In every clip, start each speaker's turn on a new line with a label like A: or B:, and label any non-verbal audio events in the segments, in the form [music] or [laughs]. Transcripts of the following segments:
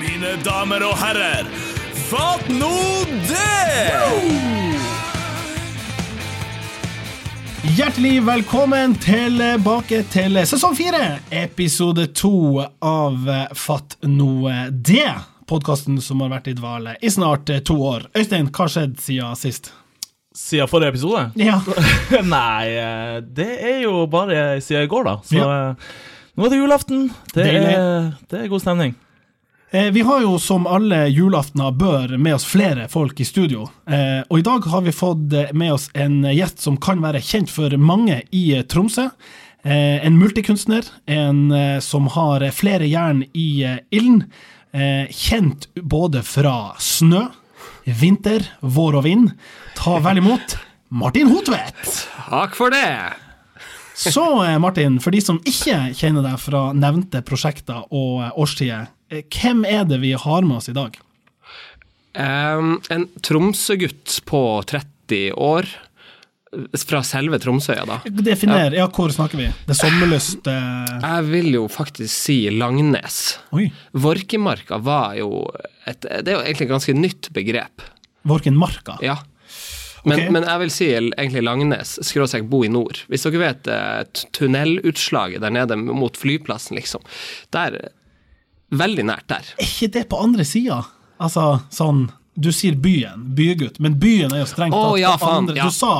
A: mine damer og herrer. Fatt nå det!
B: Hjertelig velkommen tilbake til sesong fire, episode to av Fatt noe det. Podkasten som har vært i dvale i snart to år. Øystein, hva skjedde siden sist?
A: Siden forrige episode?
B: Ja.
A: [laughs] Nei, eh, det er jo bare siden i går, da. Så
B: Ja.
A: eh, nå er det julaften. Det er,
B: Deilig.
A: det er god stemning.
B: Eh, vi har jo som alle julaftener bør med oss flere folk i studio. Eh, og i dag har vi fått eh, med oss en gjest som kan være kjent for mange i eh, Tromsø. Eh, en multikunstner, en eh, som har eh, flere jern i eh, ilden. Eh, kjent både fra snø, vinter, vår og vind. Ta vel imot Martin Hotvedt!
C: Takk for det!
B: Så eh, Martin, for de som ikke kjenner deg fra nevnte prosjekter og eh, årstider, eh, hvem er det vi har med oss i dag?
C: Um, en Tromsø-gutt på 30 år, fra selve Tromsøya da.
B: Definer. Ja, hvor snakker vi? Det er sommerlyst eh,
C: Jeg vil jo faktisk si Langnes.
B: Oi.
C: Vorkemarka var jo et, Det er jo egentlig et ganske nytt begrep.
B: Vorkenmarka.
C: Ja. Men,
B: Ok.
C: men jeg vil si egentlig Langnes, skråstrek bo i nord. Hvis dere vet eh, t- tunnelutslaget der nede mot flyplassen, liksom. Der Veldig nært der.
B: Er ikke det på andre sida? Altså sånn du sier byen, bygutt, men byen er jo strengt
C: Å,
B: tatt
C: ja,
B: på
C: faen,
B: andre.
C: ja.
B: Du sa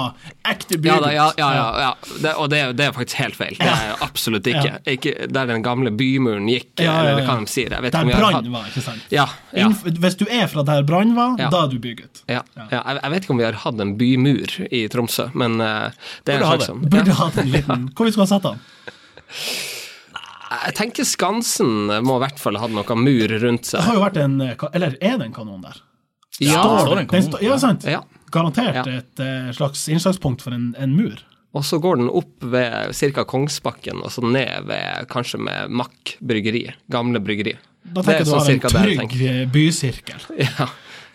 B: ekte bygutt.
C: Ja, da, ja, ja, ja, ja. Det, og det, er- det er faktisk helt feil. Det er absolutt ikke.
B: Ja.
C: ikke der den gamle bymuren gikk,
B: Ja, ja,
C: eller hva
B: ja.
C: de sier. Jeg vet ikke
B: Der
C: om vi har hatt
B: brann var, ikke sant?
C: ja, ja,
B: Innf- Hvis du er fra der brann var,
C: Ja.
B: da er du bygutt.
C: ja, ja. Jeg, jeg vet ikke om vi har hatt en bymur i Tromsø, men eh, det er
A: Burde ha
C: en
A: det.
C: slags sånn-
B: Burde
C: ja.
B: hatt en liten Hvor vi skulle ha satt den?
C: Jeg tenker Skansen må i hvert fall ha hatt noe mur rundt
B: Det
C: seg.
B: har jo vært en eh, ka- Eller er det en kanon der?
C: Ja,
A: det står
B: Står
A: en
B: det? Den
A: kanon
B: sta-
A: der.
B: ja, sant?
C: ja.
B: Garantert
C: Ja.
B: et eh, slags innslagspunkt for en, en mur.
C: Og så går den opp ved ca. Kongsbakken, og så ned ved kanskje med Mack bryggeri. Gamle bryggeri. [laughs]
B: Da tenker du har en
C: cirka der jeg
B: trygg eh, bysirkel.
C: tenker. Ja,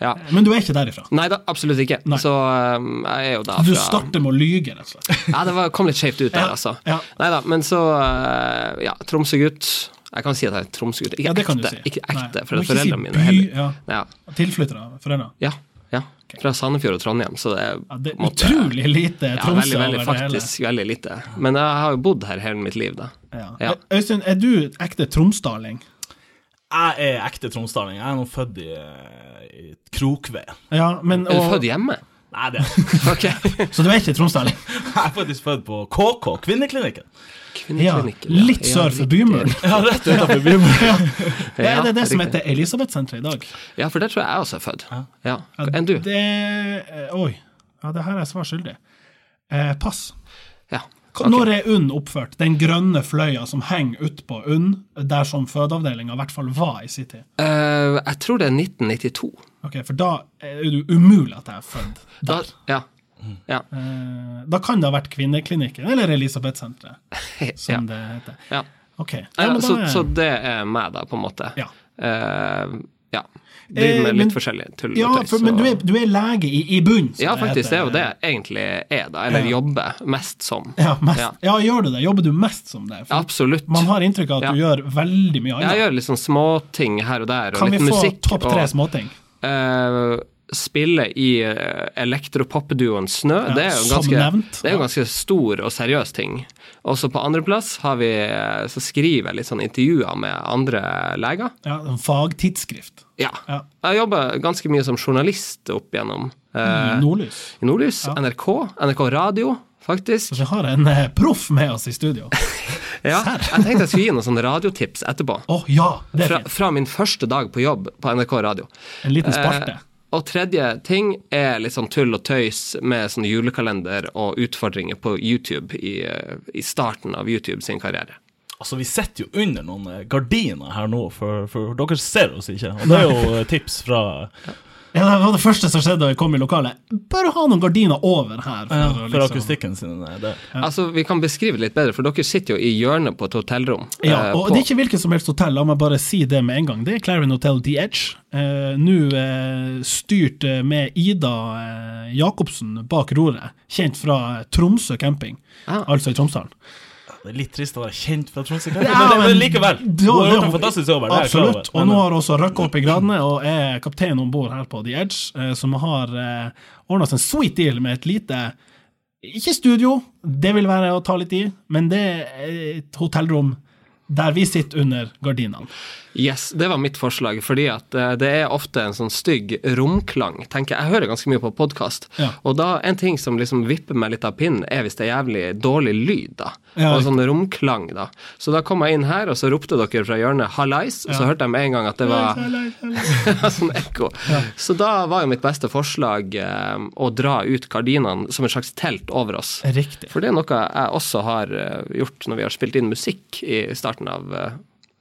C: ja.
B: Men du er ikke derifra.
C: Nei da, absolutt ikke.
B: Nei.
C: Så um, jeg er jo da
B: Du
C: fra
B: starter med å lyge, rett og slett.
C: Ja, det var, kom litt skjevt ut der,
B: Ja,
C: altså.
B: ja.
C: Nei da, men så eh, Ja, Tromsø-gutt. Jeg kan si at jeg er Tromsø-gutt. Ikke
B: Ja, det kan du
C: ekte,
B: si.
C: ikke ekte
B: Nei,
C: for
B: du må ikke si
C: foreldrene mine
B: by,
C: heller.
B: Ja,
C: Ja,
B: Tilflyttere. Foreldre.
C: ja. ja. Fra Sandefjord og Trondheim, så det er,
B: Ja, det er
C: på en måte-
B: utrolig lite
C: ja,
B: Tromsø
C: veldig, veldig,
B: over det hele.
C: faktisk veldig lite. Men jeg har jo bodd her hele mitt liv, da.
B: Ja.
C: Ja.
B: Ø- Øystein, er du et ekte tromsdaling?
A: Jeg er ekte tromsdaling. Jeg er nå født i, eh, i Krokved.
B: Ja, men,
C: Er du
B: og,
C: født hjemme?
A: Nei, det er
B: [laughs]
C: Ok.
B: så du er ikke tromsdaling?
A: [laughs]
C: [laughs]
A: Jeg er faktisk født på KK, kvinneklinikken.
B: Ja,
C: Kvinneklinikken, ja.
B: litt
C: Ja,
B: sør for
C: riktig.
B: bymuren.
A: Ja, rett
C: [laughs]
A: utenfor bymuren.
B: Ja. Det
C: Ja,
B: er det, det som
C: riktig.
B: heter Elisabeth-senteret i dag.
C: Ja, for der tror jeg jeg også er født. Ja.
B: Ja,
C: Enn du?
B: Det, eh, oi. Ja, det her er jeg svar skyldig. Eh, pass.
C: Ja.
B: K-
C: Ok.
B: Når er UNN oppført? Den grønne fløya som henger utpå UNN, der som fødeavdelinga i hvert fall var i sin tid.
C: Eh, jeg tror det er 1992.
B: Ok, For da er det jo umulig at jeg er født
C: Da,
B: der. Mm.
C: ja. Ja.
B: Eh, Da kan det ha vært Kvinneklinikken eller Elisabethsenteret,
C: [laughs] ja.
B: som det heter.
C: ja.
B: Ok. Ja,
C: Ja,
B: men da
C: så,
B: er-
C: så det er meg, da, på en måte.
B: Ja.
C: Eh, ja.
B: Eh,
C: Driver med
B: men-
C: litt forskjellig tull og
B: ja,
C: tøys,
B: for, men
C: og-
B: du er, du er lege i, i bunn. som
C: Ja,
B: det
C: faktisk. Det er
B: heter.
C: jo det jeg egentlig er, da. Eller
B: Ja.
C: jobber mest som.
B: Ja, mest, ja.
C: Ja.
B: gjør du det? Jobber du mest som det? For
C: Absolutt.
B: man har inntrykk av at du gjør veldig mye annet.
C: Jeg gjør liksom småting her og der, og
B: Kan vi
C: litt
B: få
C: musikk.
B: topp tre
C: og,
B: småting?
C: eh, spille i eh, elektropopduoen Snø.
B: Ja,
C: det, er jo
B: som
C: ganske,
B: nevnt.
C: det er jo
B: Ja.
C: ganske stor og seriøs ting. Også på andreplass har vi eh, Så skriver jeg litt sånn intervjuer med andre leger.
B: Ja, en fagtidsskrift.
C: Ja.
B: Ja.
C: Jeg jobber ganske mye som journalist opp igjennom.
B: Mm.
C: Eh,
B: Nordlys.
C: I Nordlys, NRK, NRK Radio, faktisk.
B: Så vi har en eh, proff med oss i studio. Å
C: Ja, jeg tenkte jeg skulle gi noen sånne radiotips etterpå.
B: ja, [laughs] det er
C: Fra,
B: fint.
C: fra min første dag på jobb på NRK Radio.
B: En liten
C: Eh,
B: sparte.
C: og tredje ting er litt sånn tull og tøys med sånn julekalender og utfordringer på YouTube i, eh, i starten av YouTube sin karriere.
A: Altså, vi sitter jo under noen eh, gardiner her nå, for, for dere ser oss ikke. Og det er jo eh, tips fra
B: Ja, det var det første som skjedde da jeg kom i lokalet. Bare ha noen gardiner over her.
A: ja,
B: å
A: for
B: liksom-
A: akustikken sin. eh, Det.
C: Altså, Vi kan beskrive det litt bedre, for dere sitter jo i hjørnet på et hotellrom. eh,
B: Ja, og
C: på-
B: det er ikke hvilket som helst hotell, la meg bare si det med en gang. Det er Clarion Hotel The Edge. Eh, Nå eh, styrt eh, med Ida eh, Jacobsen bak roret, kjent fra Tromsø camping,
C: Ah.
B: altså i Tromsdalen.
A: Det er litt trist å være kjent fra Tromsø, kanskje,
B: [laughs] Ja,
A: men, men
B: men-
A: likevel. Du
B: Ja,
A: har
B: ja.
A: gjort en fantastisk jobb. her, det er jeg klar over,
B: Absolutt. Og
A: men-
B: nå har også røkka opp i gradene og er kaptein om bord her på The Edge, eh, som har eh, ordna seg en sweet deal med et lite Ikke studio, det vil være å ta litt i, men det er et hotellrom der vi sitter under gardinene.
C: Yes, det var mitt forslag, fordi at eh, det er ofte en sånn stygg romklang. tenker Jeg Jeg hører ganske mye på podkast,
B: Ja.
C: og da en ting som liksom vipper meg litt av pinnen, er hvis det er jævlig dårlig lyd, da.
B: Ja,
C: og sånn romklang, da. Så da kom jeg inn her, og så ropte dere fra hjørnet 'hallais', og så hørte jeg med en gang at det var [laughs] sånn ekko. Så da var jo mitt beste forslag eh, å dra ut gardinene som et slags telt over oss.
B: Riktig.
C: For det er noe jeg også har eh, gjort når vi har spilt inn musikk i starten av eh,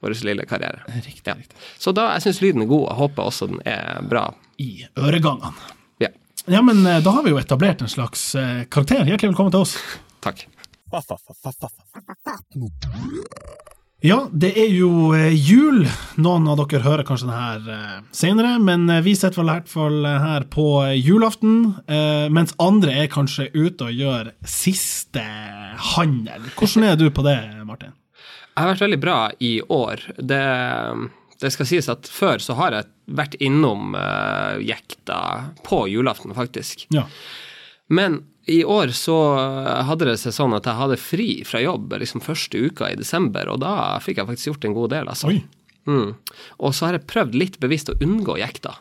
C: vår lille karriere.
B: Riktig,
C: Ja. Så da, jeg syns lyden er god, og håper også den er bra.
B: I øregangene.
C: Ja,
B: Ja, men eh, da har vi jo etablert en slags eh, karakter. Hjertelig velkommen til oss.
C: takk.
B: Ja, det er jo eh, jul. Noen av dere hører kanskje den her eh, senere, men eh, vi sitter vel i hvert fall eh, her på eh, julaften, eh, mens andre er kanskje ute og gjør siste handel. Hvordan er du på det, Martin?
C: Jeg har vært veldig bra i år. Det, det skal sies at før så har jeg vært innom eh, jekta på julaften, faktisk.
B: Ja.
C: Men i år så hadde det seg sånn at jeg hadde fri fra jobb liksom første uka i desember, og da fikk jeg faktisk gjort en god del, altså.
B: Oi.
C: Mm. Og så har jeg prøvd litt bevisst å unngå jekta,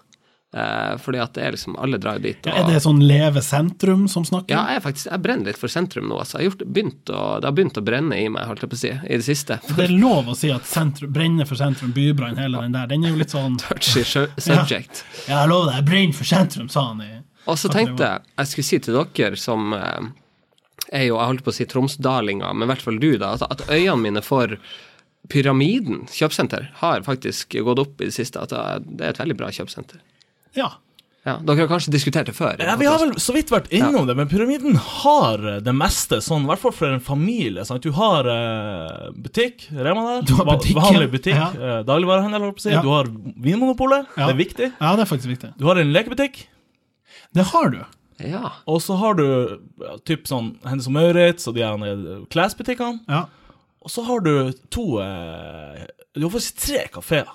C: eh, fordi at det er liksom alle drar jo dit. Og,
B: Er det sånn Leve sentrum som snakker?
C: ja, jeg, er faktisk, jeg brenner litt for sentrum nå, altså. Jeg har gjort, begynt å, det har begynt å brenne i meg, holdt jeg på å si, i det siste. [laughs]
B: Det er lov å si at sentrum, brenner for sentrum, bybrann, hele den der. Den er jo litt sånn
C: Touchy sjø- subject.
B: Ja, jeg lover deg, brenn for sentrum, sa han i
C: Og så tenkte jeg jeg skulle si til dere som eh, er jo, jeg holdt på å si tromsdalinger, men i hvert fall du, da, at, at øynene mine for Pyramiden kjøpesenter har faktisk gått opp i det siste. At eh, det det er et veldig bra kjøpesenter.
B: Ja.
C: Ja, dere har kanskje diskutert det før? eh,
A: Ja, vi har vel så vidt vært innom det, men pyramiden har eh, det meste sånn, i hvert fall for en familie. Sant? Du har eh, butikk, Rema der,
B: Du har
A: va-
B: butikken,
A: vanlig butikk,
B: ja.
A: eh, dagligvarehandel, holdt på å si.
B: Ja.
A: Du har Vinmonopolet,
B: Ja.
A: det er viktig.
B: ja, det er faktisk viktig.
A: Du har en lekebutikk,
B: Det har du.
C: Ja.
A: og så har du ja, typ sånn Hennes og Maurits og de her eh, klesbutikkene.
B: Ja.
A: Og så har du to eh, Du har faktisk tre kafeer.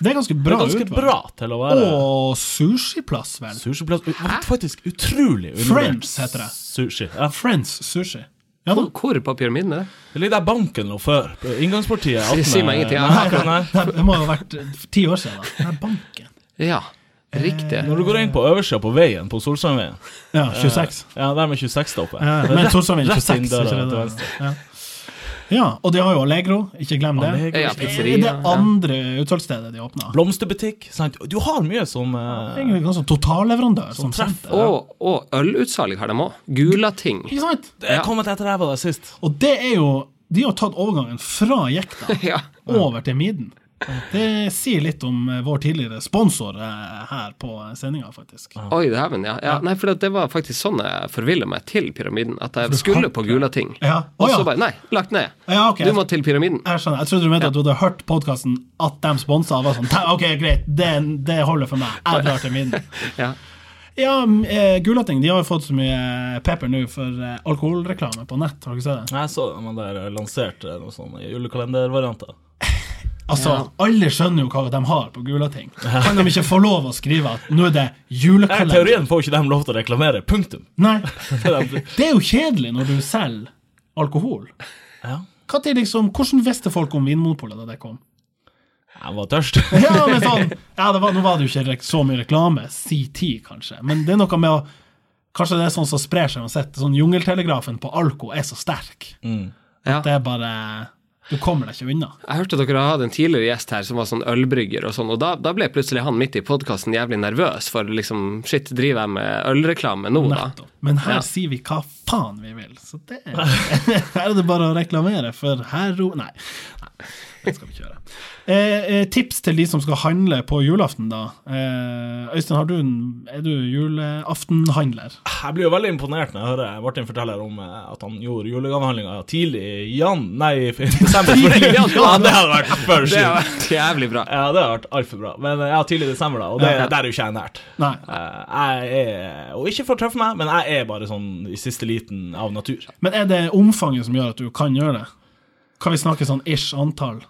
B: Det er ganske
A: Det
B: bra
A: er ganske
B: utvalg.
A: bra til å være
B: Og sushiplass, vel.
A: sushiplass. Det var Faktisk utrolig
B: Friends heter det.
A: Sushi. Ja.
B: Friends sushi. Ja da.
C: Hvor, hvor på pyramiden er det?
A: Det ligger der banken lå før. på Inngangspartiet. attende-
C: Si meg ingenting, ja.
A: Nei, akkurat der.
B: Det, det må ha vært eh, ti år siden, da. Nei, banken.
C: Ja, riktig.
A: Eh, Når du går inn på øversida på veien, på Solstrandveien
B: Ja, 26.
A: Ja, der med 26-stoppet.
B: Ja,
A: Det er
B: men
A: rett-
B: Torsdagen
A: rett
B: 26,
A: inn døra
B: ikke
A: til
B: det?
A: venstre.
B: Ja. ja, og de har jo Allegro, ikke glem det.
A: Allegro.
C: Ja,
B: Det er det
C: pizzeria. Ja.
B: andre utsalgsstedet de åpna.
A: Blomsterbutikk. Sant? Du har mye som eh,
B: Egentlig ganske totalleverandør.
A: Som Sånn
B: Som
A: treff.
B: senter.
C: Og, og ølutsalg har de òg. Gulating.
B: Ikke sant?
A: Det er kommet etter jeg var der sist.
B: Og det er jo De har tatt overgangen fra jekta
C: [laughs] Ja.
B: over til miden. Det sier litt om eh, vår tidligere sponsor eh, her på sendinga, faktisk.
C: Oi, dæven, ja. ja. Nei, for det var faktisk sånn jeg forvilla meg til pyramiden. At jeg
B: kan-
C: skulle på Gulating.
B: Ja.
C: Og
B: Å,
C: så
B: ja.
C: bare Nei, lagt ned.
B: Ja, ok.
C: Du må til pyramiden.
B: Jeg skjønner, jeg trodde du mente at du hadde hørt podkasten at de sponsa. og var Sånn, «Ta- ok, greit, det, det holder for meg. Jeg drar til min.
C: Ja.
B: Ja, m- eh, Gulating de har jo fått så mye pepper nå for eh, alkoholreklame på nett. Har dere sett det?
A: Jeg så man der eh, lanserte noen sånne julekalendervarianter.
B: Altså, Alle skjønner jo hva de har på Gulating. Kan de ikke få lov å skrive at nå er det
A: Eh, I
B: julekalender?
A: teorien får ikke de lov til å reklamere. Punktum.
B: Nei,
A: De-
B: Det er jo kjedelig når du selger alkohol.
A: [laughs] Ja.
B: Hva til liksom, Hvordan visste folk om Vinmonopolet da det kom?
A: Jeg var tørst.
B: [laughs] Ja, men sånn ja, det var, Nå var det jo ikke rek- så mye reklame, si ti kanskje, men det er noe med å Kanskje det er sånn som sprer seg uansett. Sånn Jungeltelegrafen på alko er så sterk.
A: Mm.
C: Ja.
B: Det er bare Du kommer deg ikke unna.
C: Jeg hørte dere hadde en tidligere gjest her som var sånn ølbrygger og sånn, og da, da ble plutselig han midt i podkasten jævlig nervøs for liksom Shit, driver jeg med ølreklame nå, da?
B: Nettopp. Men her
C: Ja.
B: sier vi hva faen vi vil, så det [laughs] Her er det bare å reklamere for hero... Nei. Nei. Det skal vi ikke gjøre. Eh, eh, tips til de som skal handle på julaften, da. Eh, Øystein, har du en, er du julaftenhandler?
A: Jeg blir jo veldig imponert når jeg hører Martin fortelle om eh, at han gjorde julegavehandlinga tidlig i jan... Nei, i desember.
C: i jan-
A: [laughs] Ja, det hadde vært for
C: Det har
A: sjukt.
C: vært [laughs] jævlig bra.
A: Ja, det har vært altfor bra. Men eh, ja, tidlig i desember, da. Og det,
B: Ja.
A: der er jo ikke jeg nært.
B: Nei.
A: Eh, Jeg er, og ikke for å treffe meg, men jeg er bare sånn i siste liten av natur.
B: Men er det omfanget som gjør at du kan gjøre det? Kan vi snakke sånn ish antall?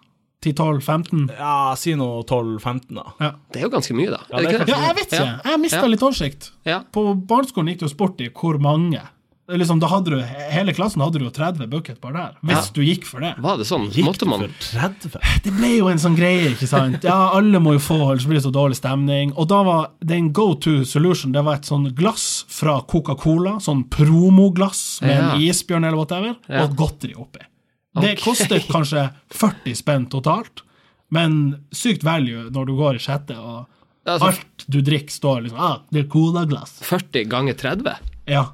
B: 10-12-15?
A: Ja, si nå 12-15, da.
B: Ja.
C: Det er jo ganske mye, da.
A: Ja, det er
C: ikke
B: ja, jeg vet ikke.
C: Ja.
B: Jeg mista
C: Ja.
B: litt oversikt.
C: Ja.
B: På barneskolen gikk det jo sport i hvor mange. Det er Liksom, da hadde du, hele klassen hadde du jo 30 bucketbar der, hvis du gikk for det.
C: Var det sånn? Måtte man
A: for 30?
B: Det ble jo en sånn greie, ikke sant? Ja, alle må jo få, ellers blir det så dårlig stemning. Og da var det en go to solution. Det var et sånn glass fra Coca-Cola, sånn promoglass med en
C: Ja.
B: isbjørn eller whatever,
C: Ja.
B: og godteri oppi. Det
C: Ok.
B: kostet kanskje 40 spenn totalt, men sykt value når du går i sjette, og
C: Ja, altså-
B: alt du drikker står liksom ah, det er Cola-glass.
C: 40 ganger 30?
B: Ja.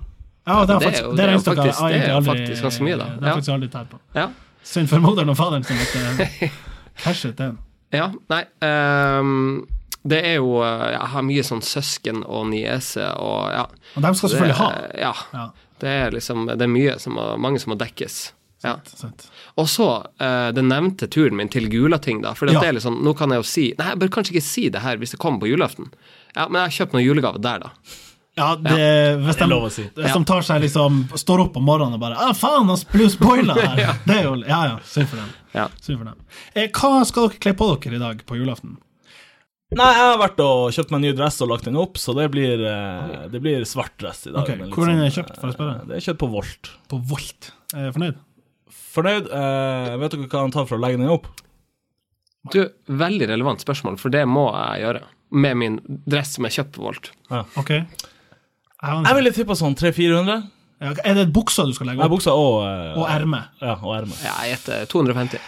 B: Ja, og det er
C: det er
B: faktisk, det
C: jo-
B: er
C: det er jo
B: eneste jeg
C: faktisk- det er
B: egentlig
C: jo
B: aldri-
C: faktisk ganske mye, da.
B: Det har
C: Ja.
B: jeg faktisk aldri tært på.
C: Ja.
B: Synd for moderen og faderen som
C: [laughs]
B: måtte cashet den.
C: Ja, nei ehm, Det er jo eh, Jeg har mye sånn søsken og niese og ja.
B: Og dem skal
C: Det-
B: selvfølgelig ha.
C: Ja.
B: Ja,
C: Det er liksom Det er mye som må, mange som må dekkes. Ja.
B: sant.
C: Og så eh, den nevnte turen min til Gulating, da. For
B: Ja.
C: det er litt sånn, nå kan jeg jo si Nei, jeg bør kanskje ikke si det her hvis det kommer på julaften. Ja, men jeg har kjøpt noen julegaver der, da.
B: Ja, det, Eh, Hvis,
A: er
B: de,
A: lov å si.
B: hvis de tar seg liksom, står opp om morgenen og bare ah, 'Faen, han ble spoila
A: [laughs]
B: her!' Det er jo, ja, ja, synd for dem.
C: Ja.
B: Synd for dem. Eh, hva skal dere kle på dere i dag på julaften?
A: Nei, jeg har vært og kjøpt meg en ny dress og lagt den opp, så det blir, eh, det blir svart dress i dag.
B: Ok,
A: men litt
B: Hvor er den
A: sånn,
B: kjøpt, får jeg spørre?
A: eh, Det er kjøpt på Volt.
B: På Volt. Er jeg fornøyd?
A: Fornøyd? Eh, vet dere hva han tar for å legge den opp?
C: Du, veldig relevant spørsmål, for det må jeg gjøre. Med min dress som jeg kjøpte på Volt.
B: Ok. Jeg har en-
A: Jeg ville tippa sånn 300-400.
B: Ja, er det buksa du skal legge
A: Jeg har
B: opp?
A: buksa og
B: Og
A: eh,
B: erme?
A: ja, og ermet.
C: Ja, jeg gjetter 250.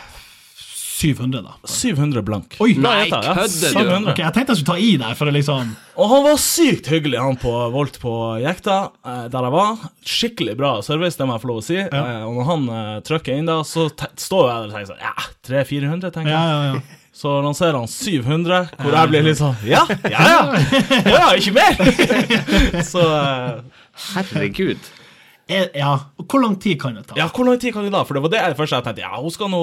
B: 700, da.
A: 700 blank.
B: Oi!
C: Nei,
A: jeg tar- ja,
C: kødder du?
A: 700.
B: Ok, Jeg tenkte jeg skulle ta i der, for å liksom
A: Og han var sykt hyggelig, han på Volt på jekta, eh, der jeg var. Skikkelig bra service, det må jeg få lov å si. Eh, og når han eh, trykker inn da, så te står jeg der og tenker sånn Ja, 300-400, tenker jeg.
B: Ja,
A: [laughs]
B: ja, ja.
A: Så lanserer han 700, hvor jeg blir litt sånn Ja, ja, ja! ja ikke mer! [laughs] så eh,
C: Herregud.
B: Er, ja. Og Hvor lang tid kan det ta?
A: Ja, hvor lang tid kan det da? For det var det jeg først jeg tenkte. Ja, hun skal nå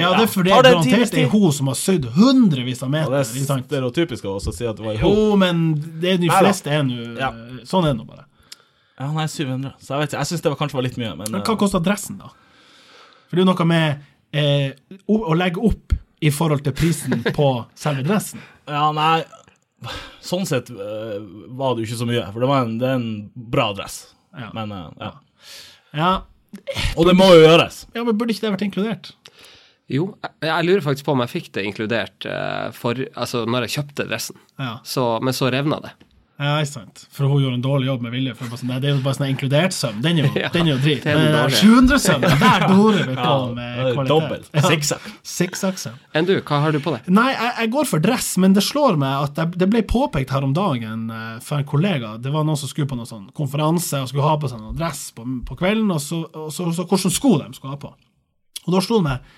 B: Ja, det er fordi
A: tar det en
B: garantert
A: times
B: det er
A: tid?
B: hun som har sydd hundrevis av
A: Ja,
B: meter.
A: det
B: ikke
A: er
B: sant?
A: stereotypisk å også si at det var i henne.
B: Jo, men det er de
A: Neida.
B: fleste er nå
A: Ja.
B: Sånn er det nå bare.
A: Ja, nei, 700. Så jeg vet ikke, jeg syns det var, kanskje var litt mye, men,
B: Men
A: eh,
B: hva koster dressen, da? For det er jo noe med eh, o- å legge opp i forhold til
A: [laughs]
B: prisen på selve dressen.
A: eh, Ja, nei Sånn sett eh, var det jo ikke så mye, for det, var en, det er en bra dress.
B: Ja.
A: Men, eh, ja.
B: Ja,
A: Og det må jo gjøres.
B: ja men burde ikke det vært inkludert?
C: Jo, jeg, jeg lurer faktisk på om jeg fikk det inkludert eh, for, altså, når jeg kjøpte dressen.
B: Ja,
C: Så, men så revna det.
B: ja ikke sant. For hun gjorde en dårlig jobb med vilje. For det var sånn, nei, det er jo bare sånn inkludert søm. Den
A: [laughs]
B: er jo,
C: Ja,
B: den er jo drit.
C: den er
B: Men eh,
C: dårlig.
B: 700 søm, der dorer vi på
A: Ja,
B: med
A: det er
B: kvalitet.
A: dobbelt. Sikksakk.
B: Sikksakk-søm.
C: Enn du, hva har du på deg?
B: Nei, jeg, jeg går for dress, men det slår meg at jeg, det ble påpekt her om dagen eh, for en kollega. Det var noen som skulle på noen sånn konferanse og skulle ha på seg noen dress på, på kvelden, og så, og så, så hvilke sko de skulle ha på. Og da slo det meg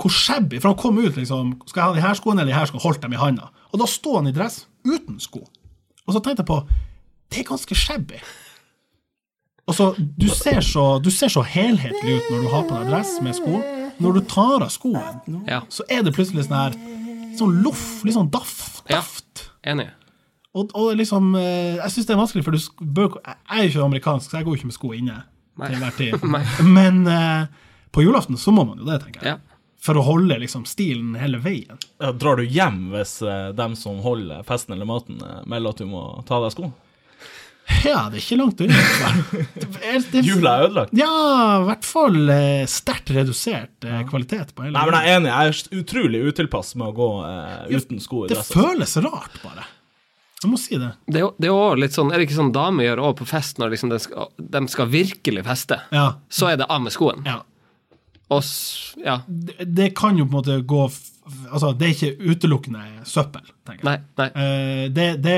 B: hvor shabby For han kom ut liksom Skal jeg ha de her skoene eller de her skoene? Holdt dem i handa. Og da sto han i dress uten sko. Og så tenkte jeg på Det er ganske shabby. Og så, du, ser så, du ser så helhetlig ut når du har på deg dress med sko. Når du tar av skoen,
C: Ja,
B: så er det plutselig sånn her Sånn loff, litt sånn daff,
C: Ja.
B: daft.
C: enig.
B: Og, og liksom eh, Jeg syns det er vanskelig, for du sk- bør Jeg er jo ikke amerikansk, så jeg går jo ikke med sko inne til enhver
C: [laughs]
B: tid. Men eh, på julaften så må man jo det, tenker jeg.
C: Ja.
B: For å holde liksom stilen hele veien.
A: Ja, drar du hjem hvis eh, dem som holder festen eller maten, eh, melder at du må ta av deg sko?
B: Ja, det er ikke langt unna. [laughs] Det er- det er-
A: Jula er ødelagt.
B: Ja, i hvert fall eh, sterkt redusert eh, kvalitet på hele
A: Nei, men jeg er enig. Jeg er s- utrolig utilpass med å gå eh, uten sko i
B: Det
A: dress.
B: føles rart, bare. Jeg må si det.
C: Det er jo- det er jo også litt sånn, er det ikke sånn damer gjør òg på fest, når liksom de, skal, de skal virkelig feste?
B: Ja.
C: Så er det av med skoen.
B: ja.
C: Og s, ja.
B: det, det kan jo på en måte gå f- Altså, det er ikke utelukkende søppel, tenker jeg.
C: Nei, nei.
B: Eh, det, det,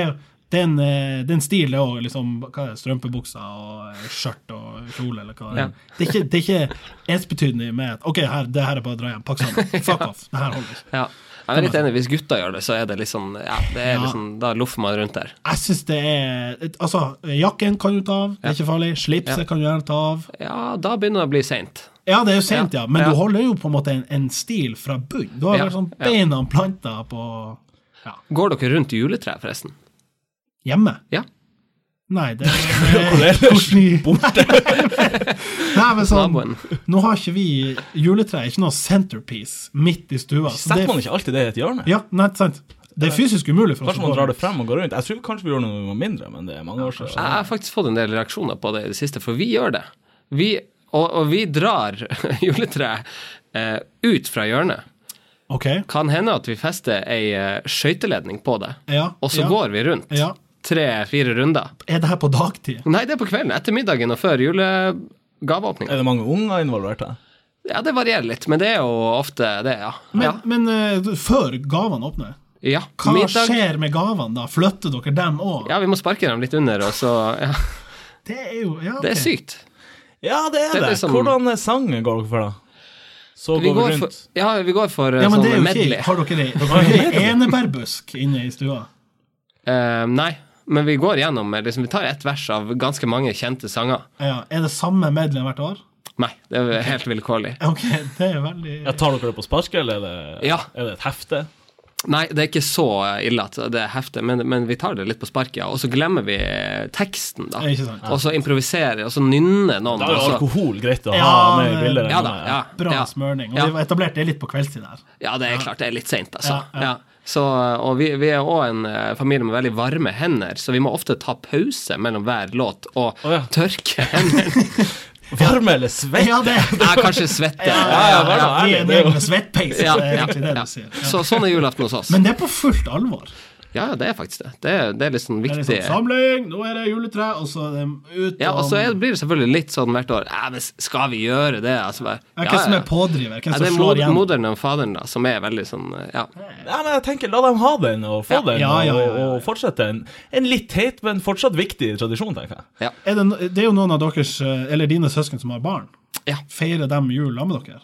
B: det, er en, eh, det er en stil, det òg. Liksom, hva er det, strømpebukser og eh, skjørt og kjole, eller hva det
C: Ja.
B: er. Det er ikke, det er ikke ensbetydende med at OK, her, det her er bare å dra hjem. Pakk sammen.
C: [laughs]
B: Fuck off. Det her holder ikke.
C: Ja. Jeg er litt enig, hvis gutta gjør det, så er det litt sånn, ja, det er litt sånn, da loffer man rundt der.
B: Jeg syns det er et- Altså, jakken kan du ta av, det er ikke farlig. Slipset kan du gjerne ta av.
C: Ja, da begynner det å bli seint.
B: Ja, det er jo sent, ja, men
C: Ja.
B: du holder jo på en måte en, en stil fra bunnen. Du har
C: Ja.
B: vært sånn
C: Ja.
B: beina planta på ja,
C: Går dere rundt juletreet, forresten?
B: hjemme.
C: Ja.
B: Nei, [laughs] det er hvordan i Borte. [laughs] Nei, men sånn,
C: Naboen.
B: nå har ikke vi juletre, ikke noe centerpiece midt i stua. så
A: Setter
B: det-
A: man ikke alltid det i et hjørne?
B: Ja, nei, ikke sant. Det er fysisk umulig for oss.
A: Kanskje man drar det frem og går rundt. Jeg tror kanskje vi gjorde noe når vi var mindre, men det er mange år siden.
C: Jeg har faktisk fått en del reaksjoner på det i det siste, for vi gjør det. Vi, og, og vi drar [laughs] juletreet eh, ut fra hjørnet.
B: Ok,
C: Kan hende at vi fester ei eh, skøyteledning på det,
B: ja.
C: og så
B: ja.
C: går vi rundt
B: Ja.
C: tre-fire runder.
B: Er det her på dagtid?
C: Nei, det er på kvelden, etter middagen og før julegaveåpninga.
A: Er det mange unger involvert her?
C: Ja, det varierer litt, men det er jo ofte det, ja.
B: Men,
C: ja.
B: men eh, før gavene åpner,
C: ja.
B: hva
C: Middag.
B: skjer med gavene da? Flytter dere dem òg?
C: Ja, vi må sparke dem litt under, og så ja.
B: Det er jo ja,
C: Det
B: ok.
C: er sykt.
A: Ja, det er
C: Det er
A: det.
C: liksom-
A: Hvordan er sangen går dere for, da? Så går
C: Vi
A: vi
C: går for,
A: rundt.
C: ja, vi går for eh,
B: Ja, men det er
C: sånn
B: jo
C: medley.
B: ikke Har dere
C: [laughs]
B: ei- dere har jo ei enebærbusk inne i stua?
C: Eh, nei, men vi går gjennom eh, liksom, Vi tar ett vers av ganske mange kjente sanger.
B: Ja, er det samme medlem hvert år?
C: Nei, det er helt vilkårlig.
B: Ok, det er veldig
A: Ja, tar dere det på sparket, eller er det,
C: Ja.
A: er det et hefte?
C: Nei, det er ikke så eh, ille at det er heftig, men, men vi tar det litt på sparket. ja. Og så glemmer vi eh, teksten, da.
B: Ja, ikke sant.
C: Og så improviserer, og så nynner noen.
A: Da er jo
C: og så-
A: alkohol greit å ha
B: Ja,
A: med i
B: men-
A: bildet.
C: altså- Ja da, ja,
B: bra
C: ja.
B: smørning. Og
C: Ja.
B: det var etablert det litt på kveldstid her.
C: Ja, det er klart det er litt seint, altså.
B: Ja, ja.
C: Ja, Så, og vi, vi er òg en eh, familie med veldig varme hender, så vi må ofte ta pause mellom hver låt og
A: Å, ja.
C: tørke hendene.
A: Varme eller svett?
B: Ja, det
C: [laughs] Ja, kanskje svette.
A: ja, ja, vær da
B: Vi
A: ærlig,
B: er
A: det er jo-
B: med svettpeis,
C: Ja,
B: det er
C: ja,
B: egentlig det
C: ja.
B: du sier. Ja.
C: Så sånn er julaften hos oss.
B: Men det er på fullt alvor.
C: Ja, ja, det er faktisk det. Det er, det er litt sånn
B: Det er
C: viktig.
B: liksom, samling, nå er det juletre, og så er det ut
C: ja, og så
B: om-
C: er, blir det selvfølgelig litt sånn hvert år. Ja, men skal vi gjøre det? Altså, bare,
B: Ja,
C: ja,
B: Hvem som
C: ja.
B: er pådriver? Hvem
C: Ja,
B: som
C: det er
B: slår
C: mod
B: igjen?
C: moderen og faderen, da, som er veldig sånn Ja.
A: Ja, men jeg tenker, La dem ha den, og få
C: Ja.
A: den,
B: Ja, ja, ja, ja, ja.
A: og- og fortsette en, en litt teit, men fortsatt viktig tradisjon, tenker jeg.
C: ja.
B: Er det, no- det er jo noen av deres, eh, eller dine søsken, som har barn.
C: Ja.
B: Feirer dem jul sammen med dere?